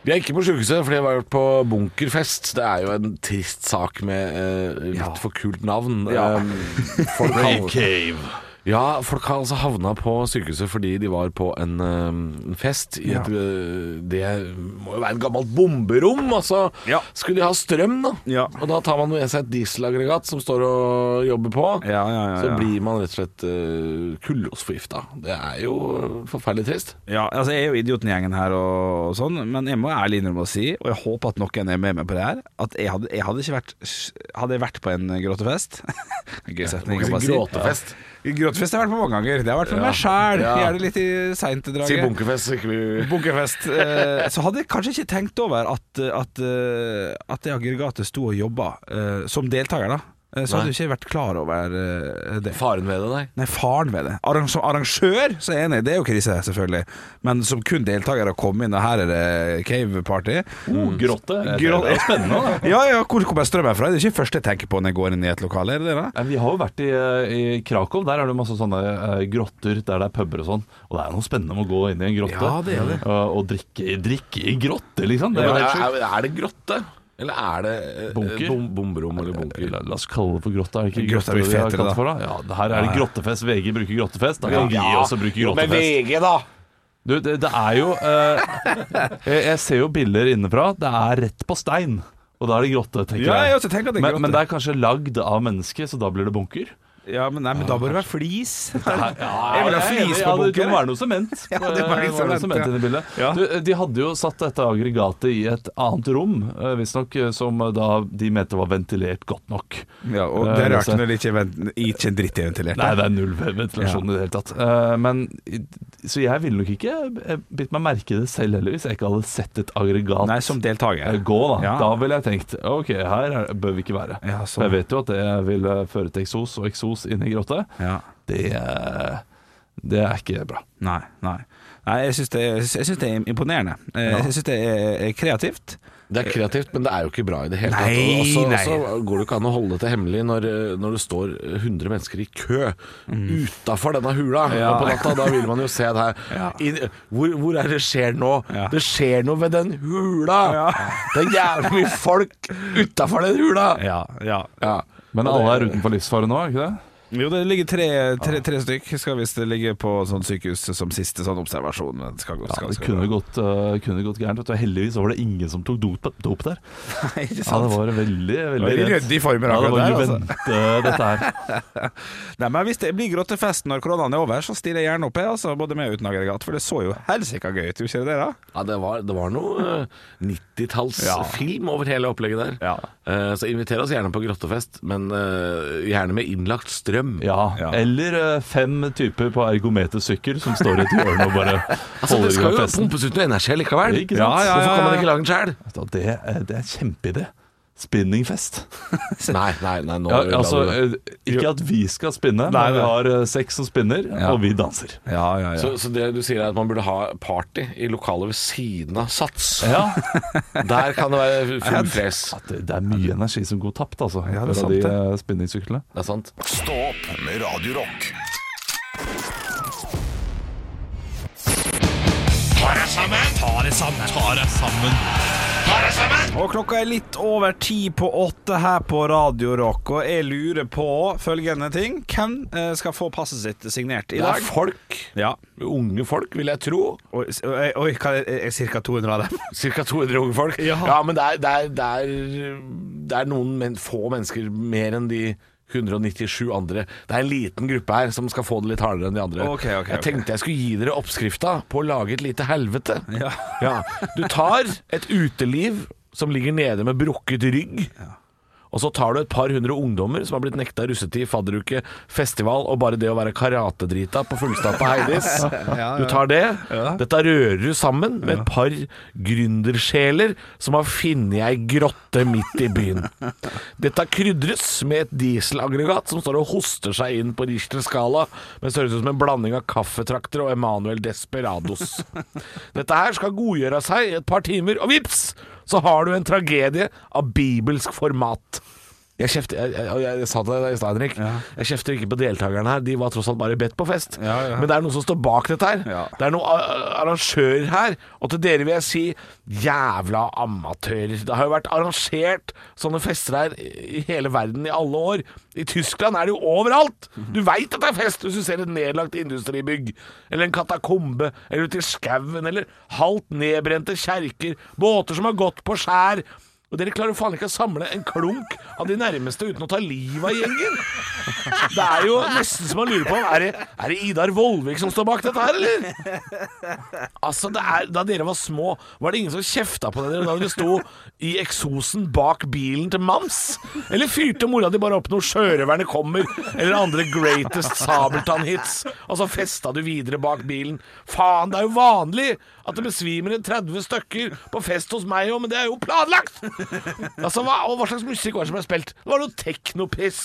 E: Vi er ikke på sjukehuset, fordi jeg var på bunkerfest. Det er jo en trist sak med eh, litt for kult navn.
B: Ja.
E: Um, folk har, ja, folk har altså havna på sykehuset fordi de var på en, eh, en fest i et eh, Det må jo være et gammelt bomberom, altså.
B: Ja.
E: Skulle de ha strøm, da?
B: Ja.
E: Og da tar man med seg et dieselaggregat som står og jobber på.
B: Ja, ja, ja,
E: Så
B: ja.
E: blir man rett og slett uh, kullosforgifta. Det er jo eh, forferdelig trist.
B: Ja, altså Jeg er jo idioten i gjengen her, og, og sånn men jeg må ærlig innrømme å si, og jeg håper at noen er med meg på det her, at jeg hadde, jeg hadde ikke vært Hadde jeg vært på en gråtefest Gøy setning.
E: må ikke
B: å bare
E: si
B: si.
E: gråtefest.
B: Ja. Gråtefest har jeg vært på mange ganger. Det har jeg vært for meg sjæl.
E: Ja.
B: Jeg er det litt i seint i
E: Si
B: draget.
E: bunkerfest, så ikke vi
B: Bunkerfest. eh, Så hadde jeg kanskje ikke tenkt over at, at, eh, at det aggregatet sto og jobba eh, som deltaker, da. Eh, Så hadde jeg ikke vært klar over eh, det.
E: Faren ved det, nei.
B: Nei, faren ved det. Arrang som arrangør så er jeg enig, det er jo krise, selvfølgelig. Men som kun deltaker å komme inn, og her er det cave-party
A: Oh, grotte.
B: Grå-
A: Det er spennende, da.
B: Ja, ja, hvor kommer strømmen fra? Det er ikke først jeg tenker på når jeg går inn i et lokale, er det det? da?
A: Nei, Vi har jo vært i, eh, i Krakow. Der er det masse sånne eh, grotter der det er puber og sånn. Og det er noe spennende med å gå inn i en grotte
B: Ja, det er det.
A: eh, og drikke, i- drikke i grotte, liksom. Det er
E: Ja,
A: jo
E: men
A: helt sjukt.
E: er, er, er det grotte? Eller er det eh,
A: Bunker?
E: Bom, bomberom eller bunker?
A: La, la oss kalle det for grotta. Er det ikke
B: Grotta
A: grotta
B: blir
A: vi har
B: fetere,
A: kalt
B: da.
A: det for, da? Ja, det her er det grottefest. VG bruker grottefest. Da kan vi også bruke grottefest.
E: VG, da!
A: Du, det, det er jo eh, jeg, jeg ser jo bilder innenfra. Det er rett på stein. Og da er det grotte, tenker
B: Ja, jeg
A: jeg.
B: også tenker at det er
A: Men,
B: grotte.
A: men det er kanskje lagd av mennesket, så da blir det bunker.
B: Ja, men, nei, men da bør det være flis.
A: Jeg
B: vil ha flis på
A: Ja, det
B: bunkeren.
A: må være noe sement.
B: Ja, det må være litt
A: Eh, noe
B: sement,
A: sement
B: ja.
A: inn i bildet.
B: Ja.
A: Du, eh, de hadde jo satt dette aggregatet i et annet rom, eh, visstnok, eh, som eh, da de mente var ventilert godt nok.
B: Ja, og det er sånn. rart når det ikke er vent- ikke en dritt er ventilert.
A: Nei, det er null ventilasjon i det hele tatt. Eh, Men, i- så jeg ville nok ikke eh, bitt meg merke i det selv heller, hvis jeg ikke hadde sett et aggregat
B: Nei, som
A: eh,
B: deltaker.
A: gå. Da
B: Ja.
A: Da ville jeg tenkt ok, her er- bør vi ikke være.
B: Ja,
A: For
B: sånn.
A: jeg vet jo at det vil eh, føre til eksos, og eksos inn i grotte,
B: Ja.
A: det, eh, det er ikke bra.
B: Nei, nei. Nei, jeg syns det, jeg synes det er imponerende. Eh, Jeg syns det er, er kreativt.
E: Det er kreativt, men det er jo ikke bra i det hele
B: Nei,
E: tatt. Og også-
B: nei.
E: også går det jo ikke an å holde dette hemmelig når, eh, når det står 100 mennesker i kø Mm. utafor denne hula
B: Ja.
E: på natta. Da vil man jo se det her.
B: Ja.
E: I- hvor, hvor er det skjer nå?
B: Ja.
E: Det skjer noe ved den hula!
B: Ja.
E: Det er jævlig mye folk utafor den hula!
B: Ja, ja.
E: Ja.
A: Men
E: Og
A: alle er
E: det-
A: utenfor livsfare nå, er ikke det?
B: Jo, det ligger tre, tre, tre stykk. Skal visst ligge på sånn sykehus som siste sånn observasjon. Men det skal, gå-
A: Ja,
B: skal,
A: det
B: skal,
A: kunne
B: gå.
A: gått, eh, kunne gått gærent. Vet du. Heldigvis var det ingen som tok dop, dop der.
B: Nei, ikke
A: Ja,
B: sant?
A: det var veldig, veldig
B: Veldig
A: redd.
B: ryddig former
A: Ja, det
B: akkurat
A: var
B: der, altså.
A: Juvente, dette her.
B: Nei, men Hvis det blir grottefest når koronaen er over, så stiller jeg gjerne opp, jeg, altså, både med og uten aggregat. For det så jo helsika gøy ut, gjorde ikke det det? da?
E: Ja, det var, det var noe eh, 90-tallsfilm over hele opplegget der.
B: Ja.
E: Eh, så inviter oss gjerne på grottefest, men eh, gjerne med innlagt strøm.
A: Ja.
B: Ja.
A: Eller eh, fem typer på ergometersykkel som står i et hjørne og bare
E: Altså, det
A: holder i
E: skal
A: gang
E: jo
A: festen.
E: pumpes ut noe energi likevel.
A: Ikke sant?
B: Ja, ja, ja.
E: Hvorfor kan man ikke lage den sjøl?
A: Vet du hva, Det, er- det er en kjempeidé. Spinningfest.
E: Nei, nei, nei, nå
A: Ja,
E: la
A: altså,
E: du det.
A: eh, ikke at vi skal
B: Nei,
A: spinne, men vi
B: nei.
A: har eh, sex som spinner,
B: Ja.
A: og vi danser.
B: Ja, ja,
E: så, så det du sier er at man burde ha party i lokalet ved siden av Sats.
A: Ja,
E: Der kan det være full fres.
A: At det, det er mye energi som går tapt, altså.
B: Ja,
A: fra
B: det er sant,
A: de
B: det.
A: eh, spinningsyklene.
E: Det er sant.
D: Stå opp med Radio Rock.
B: Og klokka er litt over ti på åtte her på Radio Rock, og jeg lurer på følgende ting. Hvem eh, skal få passet sitt signert i
E: Det er
B: dag?
E: folk.
B: Ja.
E: Unge folk, vil jeg tro.
B: Oi, s- oi, oi, hva er det? Er ca. 200 av dem.
E: Cirka 200 unge folk.
B: Ja.
E: men det er, det er, det er, det er noen men, få mennesker mer enn de 197 andre. Det er en liten gruppe her som skal få det litt hardere enn de andre.
B: Ok, ok,
E: jeg
B: ok.
E: tenkte jeg skulle gi dere oppskrifta på å lage et lite helvete.
B: Ja.
E: Ja. Du tar et uteliv som ligger nede med brukket rygg. Og så tar du et par hundre ungdommer som har blitt nekta russetid, fadderuke, festival og bare det å være karatedrita på fullstappa Heidis. Du tar det. Dette rører du sammen med et par gründersjeler som har funnet ei grotte midt i byen. Dette krydres med et dieselaggregat som står og hoster seg inn på Richter skala, men ser ut som en blanding av kaffetrakter og Emanuel Desperados. Dette her skal godgjøre seg i et par timer, og vips, så har du en tragedie av bibelsk format. Jeg kjefter, jeg, jeg, jeg, jeg sa det i stad, Henrik. Jeg kjefter ikke på deltakerne her, de var tross alt bare bedt på fest.
B: Ja, ja.
E: Men det er noen som står bak dette her.
B: Ja.
E: Det er noen a- arrangører her, og til dere vil jeg si jævla amatører. Det har jo vært arrangert sånne fester her i hele verden i alle år. I Tyskland er det jo overalt! Du veit at det er fest hvis du ser et nedlagt industribygg, eller en katakombe, eller ute i skauen, eller halvt nedbrente kjerker, båter som har gått på skjær. Og dere klarer jo faen ikke å samle en klunk av de nærmeste uten å ta livet av gjengen! Det er jo nesten som man lurer på Er det, er det Idar Vollvik som står bak dette her, eller? Altså, det er, Da dere var små, var det ingen som kjefta på dere da dere sto i eksosen bak bilen til Mams? Eller fyrte mora di bare opp når sjørøverne kommer, eller andre Greatest Sabeltann-hits, og så festa du videre bak bilen? Faen, det er jo vanlig at det besvimer en 30 stykker på fest hos meg òg, men det er jo planlagt! Altså, hva, og hva slags musikk var det som ble spilt? Det var noe teknopiss.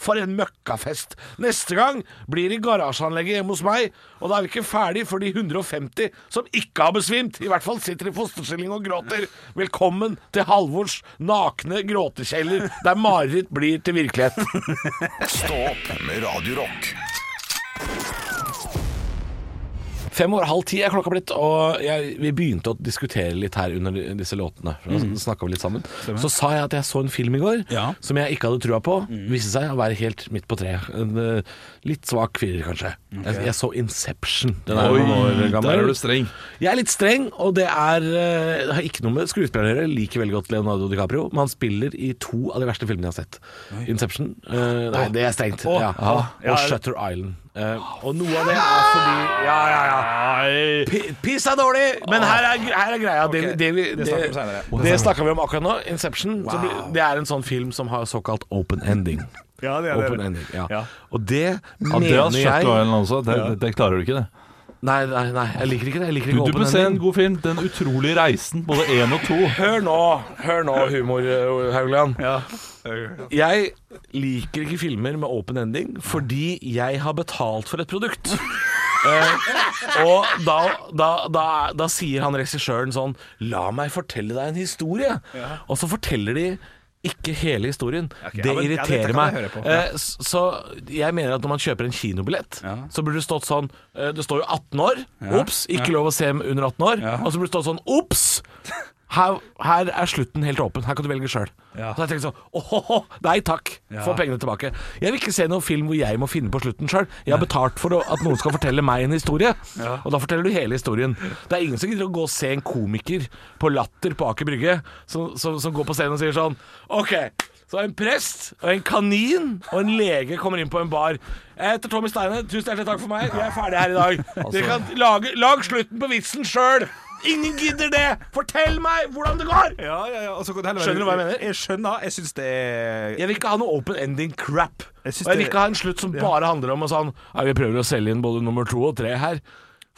E: For en møkkafest. Neste gang blir det i garasjeanlegget hjemme hos meg, og da er vi ikke ferdig for de 150 som ikke har besvimt. I hvert fall sitter i fosterstilling og gråter. Velkommen til Halvors nakne gråtekjeller, der mareritt blir til virkelighet.
D: Stå opp med Radio Rock.
E: Fem over halv ti er klokka blitt, og jeg, vi begynte å diskutere litt her under disse låtene. Mm. Snakka vi litt sammen. Så sa jeg at jeg så en film i går
B: Ja. Mm.
E: som jeg ikke hadde trua på. Viste seg å være helt midt på treet. En eh, litt svak firer, kanskje. Jeg, jeg så Inception. Den er jo noen år gammel.
A: streng.
E: Jeg er litt streng, og det er eh, Det har ikke noe med skuespillere å gjøre. Jeg Liker veldig godt Leonardo DiCaprio, men han spiller i to av de verste filmene jeg har sett. Inception. eh, nei, det er strengt. ja.
B: Ja.
E: Og Shutter Island. Eh, og noe av det er fordi Ja, ja, ja. Pi- Piss er dårlig, men her er, her er greia. Det, det, vi-
B: det snakker vi om senere.
E: det, det snakka vi om akkurat nå. Inception. Så blir- det er en sånn film som har såkalt open ending.
B: Ja, det
E: Open ending, ja.
B: Ja.
E: Og det
A: Andreas
E: mener jeg
A: Shuttweilen også. Det, det, det klarer du ikke, det.
E: Nei, nei, nei, jeg liker ikke det. Jeg liker
A: Du,
E: ikke
A: du
E: open
A: bør se
E: ending.
A: en god film. 'Den utrolige reisen', både én og to.
E: Hør nå, hør nå humor, eh, Haugland. Jeg liker ikke filmer med open ending fordi jeg har betalt for et produkt. Eh, og da, da, da, da sier han regissøren sånn La meg fortelle deg en historie. Og så forteller de ikke hele historien.
B: ja, men-
E: det
B: ja, dette
E: irriterer
B: kan
E: meg.
B: jeg høre på.
E: Eh, s- så jeg mener at når man kjøper en kinobillett,
B: Ja.
E: så burde det stått sånn eh, Det står jo 18 år.
B: Ja.
E: Ops, ikke lov å se under 18 år.
B: Ja.
E: Og så burde det stått sånn Ops! Her, her er slutten helt åpen. Her kan du velge sjøl.
B: Ja.
E: Så jeg tenkte sånn Åhåhå, nei takk.
B: Ja.
E: Få pengene tilbake. Jeg vil ikke se noen film hvor jeg må finne på slutten sjøl. Jeg har betalt for å- at noen skal fortelle meg en historie, og da forteller du hele historien. Det er ingen som gidder å gå og se en komiker på Latter på Aker Brygge som, som, som går på scenen og sier sånn OK. Så en prest og en kanin og en lege kommer inn på en bar. Jeg heter Tommy Steine. Tusen hjertelig takk for meg. Vi er ferdige her i dag. Dere kan lage, lag slutten på vitsen sjøl. Ingen gidder det! Fortell meg hvordan det går!
B: Ja, ja, ja. og så kan det heller være-
E: Skjønner du hva jeg mener?
B: Jeg skjønner. Jeg syns det er
E: Jeg vil ikke ha noe open ending crap.
B: Jeg synes
E: og jeg vil
B: det-
E: ikke ha en slutt som bare handler om å sånn Nei, vi prøver å selge inn både nummer to og tre her.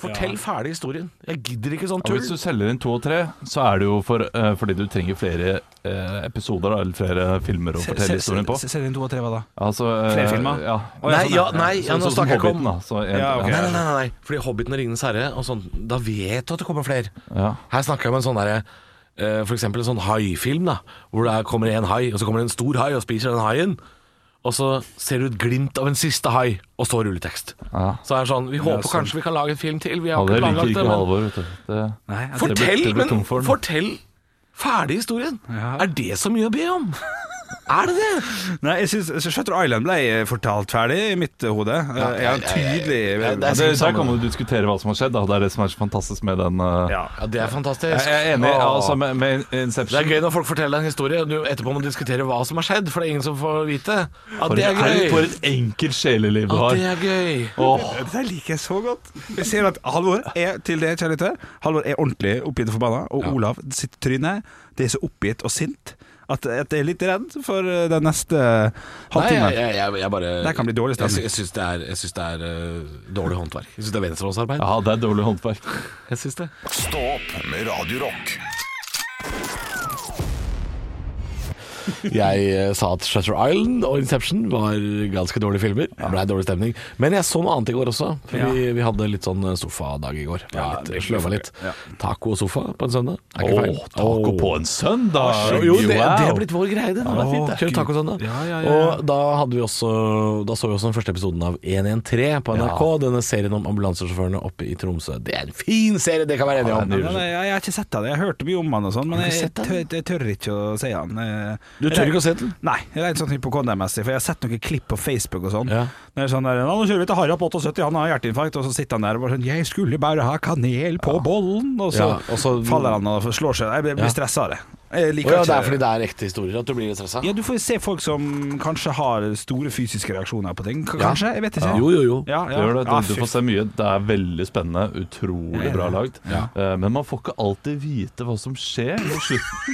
E: Fortell ferdig historien. Jeg gidder ikke sånn
A: Og
E: tull.
A: hvis du selger inn to og tre, så er det jo for, eh, fordi du trenger flere eh, episoder da, eller flere filmer å fortelle historien på.
B: Ser inn to og tre, hva da?
A: Altså, eh,
B: flere filmer?
A: Ja.
B: Å,
E: Nei,
B: sånn,
E: ja, nei, ja,
A: Sånn
E: nå
A: som
E: snakker jeg ikke
A: Hobbiten,
E: om
A: da. Så en,
B: Ja, ok.
E: Nei, nei, nei, nei, fordi Hobbiten og Ringenes herre og sånn, Da vet du at det kommer flere.
A: Ja.
E: Her snakker jeg om en sånn derre eh, For eksempel en sånn haifilm, da. Hvor det er- kommer en hai, og så kommer det en stor hai og spiser den haien. Og så ser du et glimt av en siste hai, og så rulletekst.
A: Ja.
E: Så er det sånn Vi håper kanskje vi kan lage en film til. Vi har
A: Ja, det
E: ikke
A: liker
E: planlagt
A: ikke
E: det, men
A: Halvor, vet du. Det,
B: Nei, at det-
E: Fortell,
A: det blir
E: men
A: tom for den.
E: fortell ferdig historien.
B: Ja.
E: Er det så mye å be om? Er det det?
B: Nei, jeg synes, så Shutter Island ble eh, fortalt ferdig i mitt eh, hode. Eh, Jeg har en tydelig Altså, liksom-
A: ja,
E: ja, det er
A: det,
E: sikkert
A: der
E: sammen.
A: kan man jo diskutere hva som har skjedd. Da. Det er det som er så fantastisk med den eh,
B: Ja.
E: Ja, det er fantastisk.
A: Jeg er enig
E: Åh.
A: altså, med, med
E: det
A: Inception.
E: er gøy når folk forteller deg en historie, og du etterpå må diskutere hva som har skjedd, for det er ingen som får vite. Ja, det er gøy.
A: For et enkelt sjeleliv du
E: Ja,
A: har.
E: det er gøy.
A: Åh,
B: Dette liker jeg så godt. Jeg ser at Halvor er til det, kjære lytter. Halvor er ordentlig oppgitt og forbanna, og Olav sitt tryne det er så oppgitt og sint at, at jeg er litt redd for eh, den neste
E: Nei, jeg,
B: halvtimen.
E: jeg, jeg, jeg bare
B: Det kan bli dårlig
E: Jeg,
B: stemning.
E: sy- jeg syns det er, jeg synes det er øh, dårlig håndverk. Jeg syns det er venstrehåndsarbeid.
A: ja, det er dårlig håndverk.
E: Jeg syns det.
D: Stå opp med Radio Rock.
E: Jeg eh, sa at Shutter Island og Inception var ganske dårlige filmer. Det ble dårlig stemning. Men jeg så noe annet i går også. For vi, vi hadde litt sånn sofadag i går. Ja, litt, Sløva litt. Taco og sofa på en søndag. Er ikke feil.
A: Åh, taco
E: Åh.
A: på en søndag!
E: Jo, det, det er
A: Wow.
E: blitt vår greie, det. det er fint, det. Kjøre tacosøndag.
B: Ja, ja, ja, ja.
E: Og da, hadde vi også, da så vi også den første episoden av 113 på NRK. Denne serien om ambulansesjåførene oppe i Tromsø. Det er en fin serie, det kan vi være enige
A: Ja,
E: om.
A: den er
B: Nei, nei, jeg, jeg har ikke sett den. Jeg har hørt mye om han og sånn, men
E: Har du
B: jeg, jeg,
E: sett den?
B: tør, jeg tør ikke å si han. Eh,
E: Du tør ikke å se den?
B: Nei, rent sånn hypokondemessig, for jeg har sett noen klipp på Facebook og sånn.
E: Ja.
B: Det er sånn der, nå kjører vi til Harald på 78, han har hjerteinfarkt, og så sitter han der og bare sånn 'Jeg skulle bare ha kanel på bollen', og så,
E: Ja, og så-
B: faller han og slår seg. Jeg blir- blir stressa av det. Jeg
E: Å
B: liker
E: ja, det er
B: ikke
E: fordi det er ekte historier at du blir stressa?
B: Ja, du får se folk som kanskje har store fysiske reaksjoner på ting. K-
E: Ja.
B: Kanskje? Jeg vet ikke.
E: Jo, jo, jo.
B: Ja, ja.
A: Det gjør det.
B: Ja,
A: Du,
B: fy-
A: du får se mye. Det er veldig spennende. Utrolig bra lagd. Eh, Men man får ikke alltid vite hva som skjer i slutten.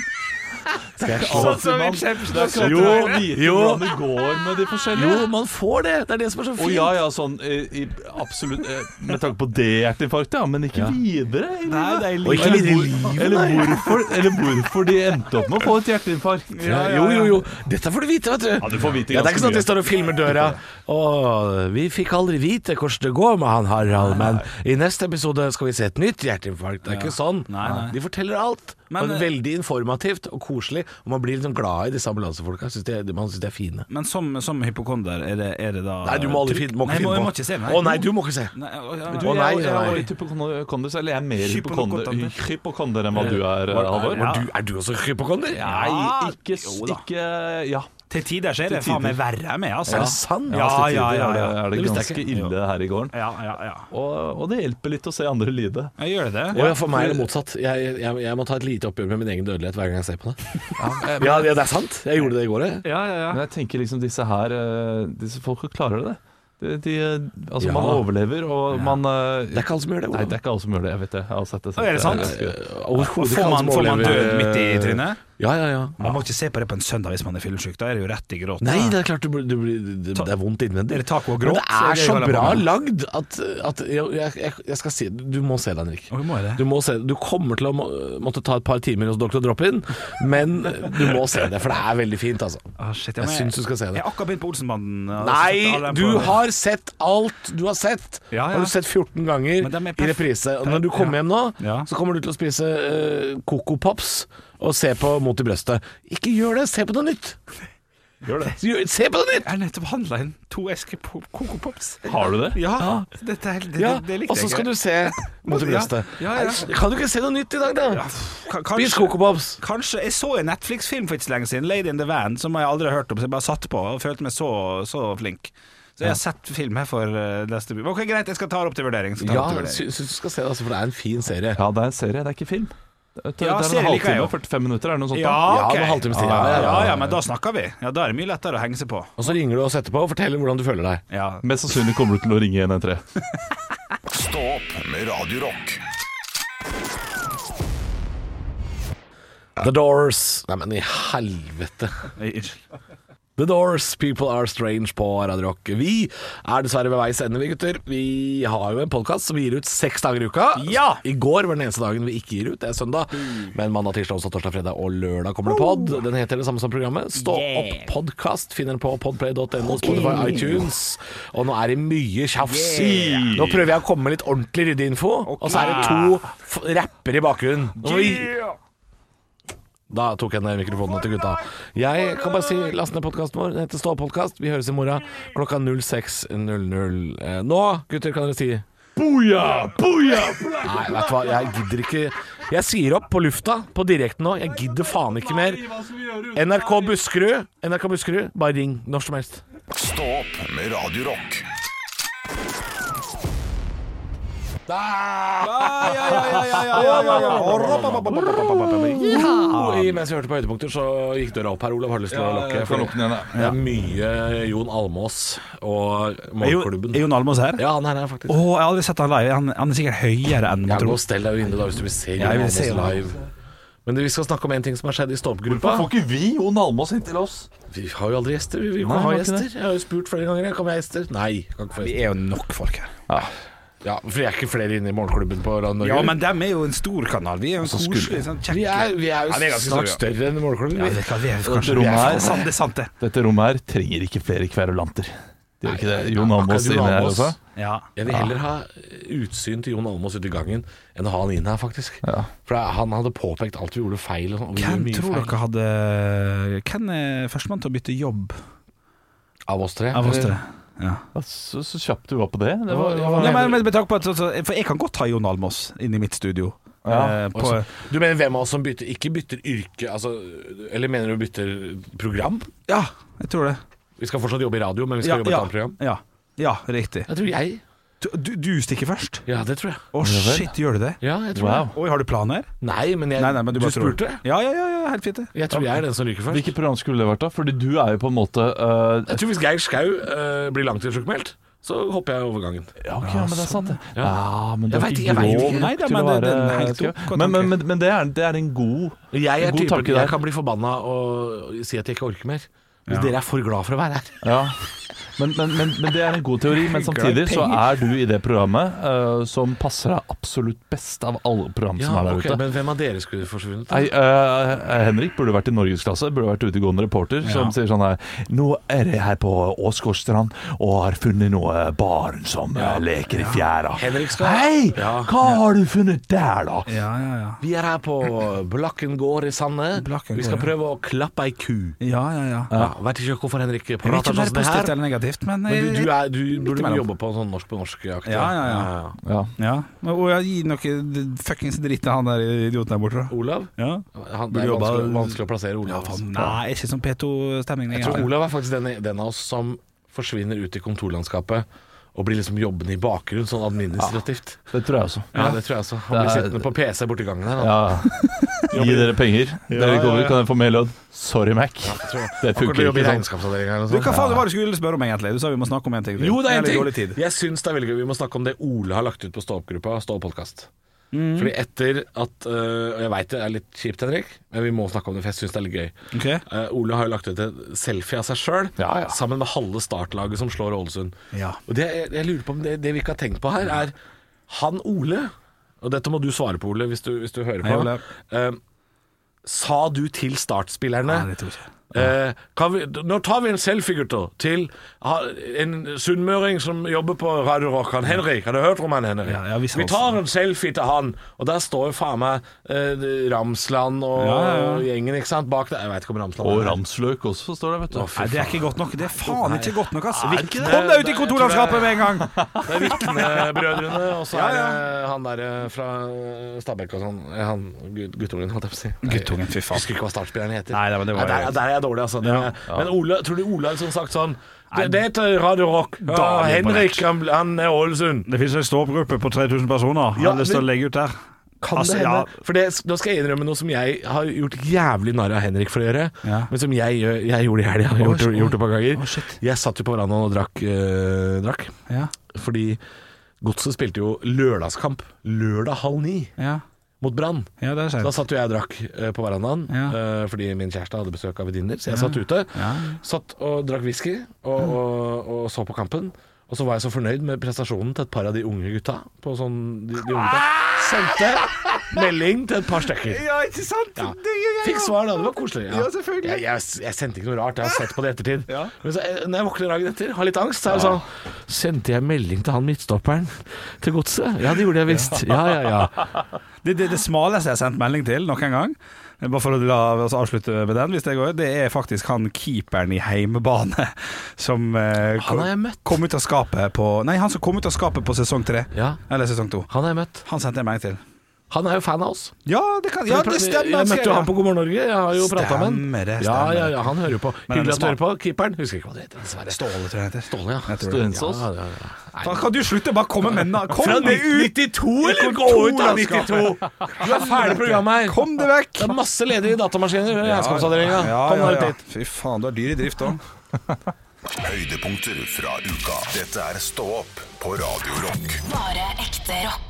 E: Skal jeg slå
A: Alltid man- Det er ikke alltid man vite hvordan det går med de forskjellige.
E: Jo, man får det! Det er det som er så
A: Å
E: fint.
A: ja, ja, sånn eh, i, absolutt eh, Med tanke på det hjerteinfarktet, ja, men ikke videre i
B: Nei, det
A: livet.
B: er
E: Og ikke
A: Eller,
E: videre i
A: hvor, eller, hvorfor, eller hvorfor de endte opp med å få et hjerteinfarkt.
E: Ja, jo, jo, jo. Dette får du vite, vet du. Ja,
A: du får vite
E: det er ikke
A: ganske
E: sånn at de
A: mye.
E: står og filmer døra. Og vi fikk aldri vite hvordan det går med han Harald, men i neste episode skal vi se et nytt hjerteinfarkt. Det er ikke sånn.
B: Nei, nei.
E: De forteller alt.
B: Men,
E: og
B: eh,
E: veldig informativt og koselig. Og man blir liksom glad i disse ambulansefolka. Synes de- Man syns de er fine.
B: Men som, som hypokonder, er det, er det da
E: Nei, du må aldri
B: trygt?
E: finne, må
B: Nei,
E: ikke
B: jeg må,
E: finne
B: jeg
E: på.
B: må ikke se
E: Å nei, du må ikke se.
B: Nei, å, ja,
A: Du,
E: Å,
A: jeg,
E: nei,
A: jeg,
E: nei.
A: er litt hypokonders, eller jeg er mer hypokonder,
B: Hypokonder.
A: hypokonder enn hva du er,
E: Var-
A: Halvor.
E: var du, er du også hypokonder?
A: Nei, ikke,
B: Ah, Jo da.
A: ikke Ja.
B: Til tider så er det faen meg verre med, altså.
E: Er det sant?
B: Ja,
A: til
B: ja,
A: tider
B: ja,
A: er det-
B: ja.
A: Er det
E: Det visste jeg
A: ganske ille her i gården.
B: Ja, ja, ja.
A: Og, og det hjelper litt å se andre lide.
B: Jeg gjør det.
E: Å ja, for meg er det motsatt. Jeg, jeg, jeg må ta et lite oppgjør med min egen dødelighet hver gang jeg ser på det.
A: Ja,
E: Ja, det det er sant. Jeg gjorde det i går, jeg.
B: Ja, ja, ja.
A: Men jeg tenker liksom disse her eh, Disse folka klarer det. De, de, eh, altså
E: Ja.
A: Man overlever, og man eh,
E: Det er ikke alle som gjør det.
A: Nei, det Eh, er ikke alle som gjør det. Jeg vet det. Jeg har sett det.
E: Eh,
B: Er det sant?
A: ganske-
E: Overhodet
B: Får man, får man død midt i trynet?
E: eh, Ja, ja, ja.
B: Man må ikke se på det på en søndag hvis man er filmsjuk. Da er det jo rett i gråt.
E: Nei, det er klart du, blir- du, blir- det, det er vondt innvendig.
B: Er det taco og gråt?
E: Men det er
B: Det er
E: så
B: det jeg
E: bra
B: holder
E: lagd at, at jeg, jeg, jeg, jeg skal si Du må se det, Henrik.
B: Å, vi må det.
E: Du, må se, det. du kommer til å må, måtte ta et par timer hos Dr. Drop-In, men du må se det, for det er veldig fint, altså.
B: Ah, shit,
E: Jeg
B: må-
E: syns du skal se det.
B: Jeg har akkurat begynt på Olsenbanden. og sett alle
E: Nei,
B: dem
E: du
B: på-
E: har sett alt du har sett.
B: Ja, ja.
E: Har du sett 14
B: Men dem er
E: ganger i
B: perf-
E: reprise. Og når du
B: Ja.
E: kommer hjem nå,
B: Ja.
E: så kommer du til å spise uh, Coco Pops og se på Mot i brøstet. Ikke gjør det, se på noe nytt.
A: Gjør det.
E: Gjør- Se på noe nytt!
B: Jeg har nettopp handla inn to esker po- Coco Pops.
A: Har du det?
B: Ja, Dette, er- det,
E: Ja,
B: det, det likte
E: og så skal
B: jeg
E: du se Mot i
B: Ja,
E: brøstet.
B: ja, ja.
E: Nei, Kan du ikke se noe nytt i dag, da?
B: Ka-
E: Spis
B: Kanskje,
E: Coco Pops.
B: kanskje Jeg så en Netflix-film for ikke så lenge siden, 'Lady in the Van', som jeg aldri har hørt om, så jeg bare satt på og følte meg så, så flink. Så jeg har sett film her for eh, neste by. Ok, Greit, jeg skal ta det opp til vurdering. skal ta det
E: Ja,
B: opp til vurdering.
E: syns du skal se det, altså, for det er en fin serie.
A: Ja, det er en serie, det er ikke film. Det, det
B: Ja,
A: er
B: serie
A: en
B: liker jeg
A: halvtime
B: jo.
A: og 45 minutter, er det noe sånt? da?
B: Ja, ok.
E: Ja, det var halvtimes tid, ja,
B: Ja,
E: ja, ja,
B: ja,
E: ja.
B: ja, men da snakker vi. Ja, Da er det mye lettere å henge seg på.
E: Og så ringer du oss etterpå og forteller hvordan du føler deg.
B: Ja.
A: Mest sannsynlig kommer du til å ringe 113.
D: Stå opp med Radio Rock.
E: The Doors. Nei, men i helvete.
B: Unnskyld.
E: The Doors, People Are Strange på Radio Rock. Vi er dessverre ved veis ende, vi gutter. Vi har jo en podkast som vi gir ut seks dager i uka.
B: Ja!
E: I går var den eneste dagen vi ikke gir ut, det er søndag. Men mandag, tirsdag, onsdag, torsdag, fredag og lørdag kommer det pod. Den heter det samme som programmet. Stå opp podkast. Finner den på podplay.no, Spotify, iTunes. Og nå er det mye tjafs. Nå prøver jeg å komme med litt ordentlig ryddeinfo, og så er det to f- rappere i bakgrunnen. Nå må vi- da tok jeg ned mikrofonene til gutta. Jeg kan bare si last ned podkasten vår. Den heter Stå opp-podkast. Vi høres i morgen klokka 06.00. Eh, Nå, gutter, kan dere si
A: Booyah! Booyah!
E: Nei, vet du hva, jeg gidder ikke Jeg sier opp på lufta, på direkten nå. Jeg gidder faen ikke mer. NRK Buskerud, NRK Buskerud, bare ring når som helst.
D: Stå opp med Radio Rock.
E: I- Mens vi hørte på høydepunkter, så gikk døra opp her. Olav har du lyst til å lokke.
A: Jeg kan åpne igjen, jeg.
E: Det er mye Jon Almås og
B: Er jo-
E: Målklubben.
B: er Jon Almaas her?
E: Ja, han er her faktisk.
B: Å, jeg har aldri sett han live. Han, han er sikkert høyere enn
E: Ja,
B: man
E: gå og
B: tror.
E: stell deg jo inne da hvis du vil se
B: Ja, jeg vil
E: Jon Almaas
B: se Jon Almaas.
E: live. Men vi skal snakke om en ting som har skjedd i stå-opp-gruppa.
A: Får ikke vi Jon Almaas hit til oss?
E: Vi har jo aldri gjester. Vi
A: Nei,
E: vil ikke ha
A: har ikke
E: gjester.
A: det.
E: Jeg har jo spurt flere ganger. Kan vi ha gjester? Nei. Kan ikke få
B: Vi
E: gjester.
B: er jo nok folk her.
E: Ja, for vi er ikke flere inne i Morgenklubben på Radio Norge.
B: Ja, men dem er jo en stor kanal. Vi er jo
E: Altså,
B: en koselig, sånn kjekk
E: vi er, vi er jo
B: Ja, vi er ganske
E: snart
B: store,
E: større enn Morgenklubben.
B: Ja,
E: vi.
B: vet du hva, vi er
A: Dette
B: kanskje vi
A: rommet
B: er,
A: her-
B: sant, Det er sant, det.
A: Dette rommet her trenger ikke flere kverulanter. Det gjør ikke det. Jon
E: Nei,
A: Almaas
E: akkurat Jon
A: inne her
E: Almaas.
A: også.
B: Ja.
E: Jeg vil heller ha eh, utsyn til Jon Almaas ute i gangen enn å ha han inn her, faktisk.
A: Ja.
E: For han hadde påpekt alt vi gjorde feil. Og sånn, og vi
B: Hvem
E: gjorde mye
B: tror
E: feil.
B: dere hadde Hvem er førstemann til å bytte jobb
E: Av oss tre?
B: av oss tre?
E: eller?
B: Ja.
A: Ja, Så, så kjapt du var på det. det var,
E: Ja, ja,
B: Nei, men, men med tanke på at, altså, for jeg kan godt ha Jon Almaas inn i mitt studio.
A: Ja,
B: eh, på,
E: Altså, Du mener hvem av oss som bytter, ikke bytter yrke, altså, eller mener du bytter program?
B: ja jeg tror det.
E: Vi skal fortsatt jobbe i radio, men vi
B: Ja,
E: skal jobbe i et
B: ja,
E: annet program.
B: ja, ja, riktig.
E: Jeg tror jeg.
B: Du, du, du stikker først?
E: Ja, det tror jeg.
B: Å, shit, gjør du det?
E: Ja, jeg tror
A: wow.
E: det.
B: Oi, har du planer?
E: Nei, men, jeg,
B: Nei, nei, men du, bare tror.
E: spurte.
B: Ja, ja, ja, ja, helt fint. det.
E: Jeg tror jeg er den som ryker først.
A: Hvilket program skulle det vært, da? Fordi du er jo på en måte eh,
E: Jeg tror hvis Geir Skau eh, blir langtidssjukmeldt, så hopper jeg over gangen.
A: Ja, ok, ja, men det er sant, det.
E: Ja.
A: Ja, men du
E: Jeg
A: er
E: vet ikke,
A: ikke
E: jeg vet
A: grov
E: ikke.
B: Nei,
A: nok
B: da,
A: til å
B: men det-
A: være
B: den er helt ok
A: Men, men,
B: tanke.
A: men, men det, er, det er en god
E: Jeg, er
A: God
E: typen,
A: tanke der.
E: jeg kan bli forbanna og si at jeg ikke orker mer. Hvis dere er for glad for å være her.
A: Ja. Men, men, men, men det er en god teori. Men samtidig så er du i det programmet eh, som passer deg absolutt best av alle program som er der
E: ok,
A: ute.
E: Men hvem av dere skulle forsvunnet?
A: Nei, eh, Henrik burde vært i norgesklasse, burde vært utegående reporter som sier sånn her Nå er jeg her på Åsgårdstrand og har funnet noe barn som eh, leker i fjæra.
E: Henrik skal-
A: Hei!
E: Ja.
A: Hva har du funnet der, da?
B: Ja, ja, ja.
E: Vi er her på Blakken gård i Sande.
B: Blakken
E: Vi skal
B: gård, ja.
E: prøve å klappe ei ku.
B: Ja, ja, ja.
E: Ja, vet ikke hvorfor Henrik
B: Jeg vet ikke
E: prater
B: om det
E: sånn
B: er
E: som det
B: positivt
E: her.
B: eller negativt, men,
E: Men du, du, er, du burde
B: imellom.
E: jobbe på sånn norsk på norsk-aktig.
B: Ja, ja, ja.
A: Ja.
B: ja. Men, og jeg gir noe d- fuckings dritt til han der idioten der borte. da.
E: Olav?
B: Ja.
E: Han, det
B: Burde
E: er
B: jobba-
E: vanskelig, vanskelig å plassere Olav. altså.
B: Nei, ikke sånn P2-stemning
E: Jeg tror Olav er faktisk den, den av oss som forsvinner ut i kontorlandskapet og blir liksom jobbende i bakgrunnen, sånn administrativt.
A: Det tror jeg også.
E: Ja, det tror jeg også. Han
A: Det
E: blir
A: er-
E: sittende på PC borti gangen her. han.
A: Ja. Gi dere penger. Dere kommer, kan dere få mer lønn. Sorry, Mac.
E: Jeg
A: Det
E: tror han- Han kommer til
A: funker
E: å jobbe i
A: ikke sånn.
E: regnskapsavdelingen eller
B: Du,
E: noe
B: hva
E: sånt.
B: faen var det du skulle spørre om egentlig? Du sa vi må snakke om en ting. til.
E: Jo, det er
B: Eller
E: en
B: dårlig tid.
E: ting. Jeg syns det er veldig gøy. Vi må snakke om det Ole har lagt ut på stå-opp-gruppa, Stå opp-podkast. Fordi etter at øh, Og jeg veit det er litt kjipt, Henrik, men vi må snakke om det, for jeg syns det er litt gøy.
B: Ok.
E: Eh, Ole har jo lagt ut en selfie av seg sjøl,
A: Ja, ja.
E: sammen med halve startlaget som slår Ålesund.
B: Ja.
E: Og det, jeg, jeg lurer på om det, det vi ikke har tenkt på her, er han Ole Og dette må du svare på, Ole, hvis du, hvis du hører på.
B: Hei, Ole.
E: Eh, sa du til startspillerne
B: Nei, det tror jeg ikke.
E: Eh, kan vi, nå tar vi en selfie, gutter, til ha- en sunnmøring som jobber på Radio Rock. Han Henrik, har du hørt om han Henrik?
B: Ja, ja, vi sa
E: vi tar
B: også.
E: en selfie til han, og der står jo faen meg eh, Ramsland og
B: Ja, ja, ja.
E: gjengen ikke sant, bak der. Jeg veit ikke om Ramsland
A: Og
E: er der.
A: ramsløk også står der, vet du.
B: Nei, det er ikke godt nok. Det er faen ikke godt nok, ass.
E: Er ikke det?
B: Kom deg ut i kontorlandskapet med en gang!
E: Det er Vikne-brødrene, og så
B: Ja,
E: er det
B: ja.
E: han der eh, fra Stabekk og sånn. Eh, Han gut- guttungen, holdt jeg på å si.
B: Guttungen, fy faen.
E: Jeg Husker ikke hva startspilleren heter.
B: Nei, nei, men det var-
E: der, der er jeg dårlig, altså. Det, Men Ole, tror du Ole har liksom sagt sånn Det, det heter Radio Rock. Ja,
B: Da er vi
E: Henrik, han, han er Ålesund.
B: Det fins ei ståoppgruppe på 3000 personer.
E: Ja, lyst til å
B: legge ut der.
E: Kan det hende? Altså, For det, nå skal jeg innrømme noe som jeg har gjort jævlig narr av Henrik for å gjøre,
B: Ja.
E: men som jeg, gjør- jeg gjorde i helga. Jeg har Gjort, det- gjort det et par ganger.
B: Å, shit.
E: jeg satt jo på verandaen og drakk, øh, drakk.
B: Ja,
E: Fordi Godset spilte jo lørdagskamp lørdag halv ni
B: ja,
E: mot Brann.
B: ja, det er sant.
E: Da satt jo jeg og drakk eh, på verandaen
B: Ja.
E: eh, fordi min kjæreste hadde besøk av venninner, så jeg satt ute.
B: Ja.
E: Satt og drakk whisky og, og, og så på kampen. Og så var jeg så fornøyd med prestasjonen til et par av de unge gutta. På sånn, de, de unge gutta Sendte melding til et par stykker.
B: Ja, ikke sant?
E: Ja. Fikk svar da, det var koselig.
B: Ja, selvfølgelig.
E: Jeg, jeg, jeg sendte ikke noe rart, jeg har sett på det i ettertid.
B: Ja.
E: Men så, eh, når jeg våkner dagen etter, har litt angst, så er det sånn Sendte jeg melding til han midtstopperen til godset? Ja, det gjorde jeg visst. Ja, ja, ja.
B: Det, det, det smaleste jeg har sendt melding til noen gang, bare for å la oss avslutte med den, hvis det går, det er faktisk han keeperen i heimebane som eh,
E: Han har jeg møtt.
B: kom ut av skapet på Nei, han som kom ut av skapet på sesong tre.
E: Ja.
B: Eller sesong to.
E: Han har jeg møtt.
B: Han sendte jeg melding til.
E: Han er jo fan av oss.
B: Ja, det kan Ja, det stemmer! skrev
E: Jeg møtte jo han på God morgen Norge. Jeg har jo prata med han.
B: Stemmer det,
E: Ja,
B: stemmer
E: ja,
B: det.
E: ja, han hører jo på.
B: Men er
E: Hyggelig
B: det
E: at du hører på. Keeperen Husker ikke hva det heter, dessverre.
B: Ståle, tror jeg han heter.
E: Ståle, ja.
B: Jeg tror det.
A: Stensås.
E: Ja, ja, ja.
B: Faen, Kan du slutte bare å komme med navn? Kom
E: Fra
B: deg ut!
E: 92, eller? Gå ut av 92! Du er ferdig programmet her.
B: Kom deg vekk!
E: Det er masse ledige datamaskiner ved regnskapsavdelinga.
B: Ja,
E: Kom
B: ja,
E: deg
B: ja.
E: ut dit.
B: Fy faen, du er dyr i drift òg.
D: Høydepunkter fra uka. Dette er Stå opp på Radio Rock.
F: Bare ekte rock.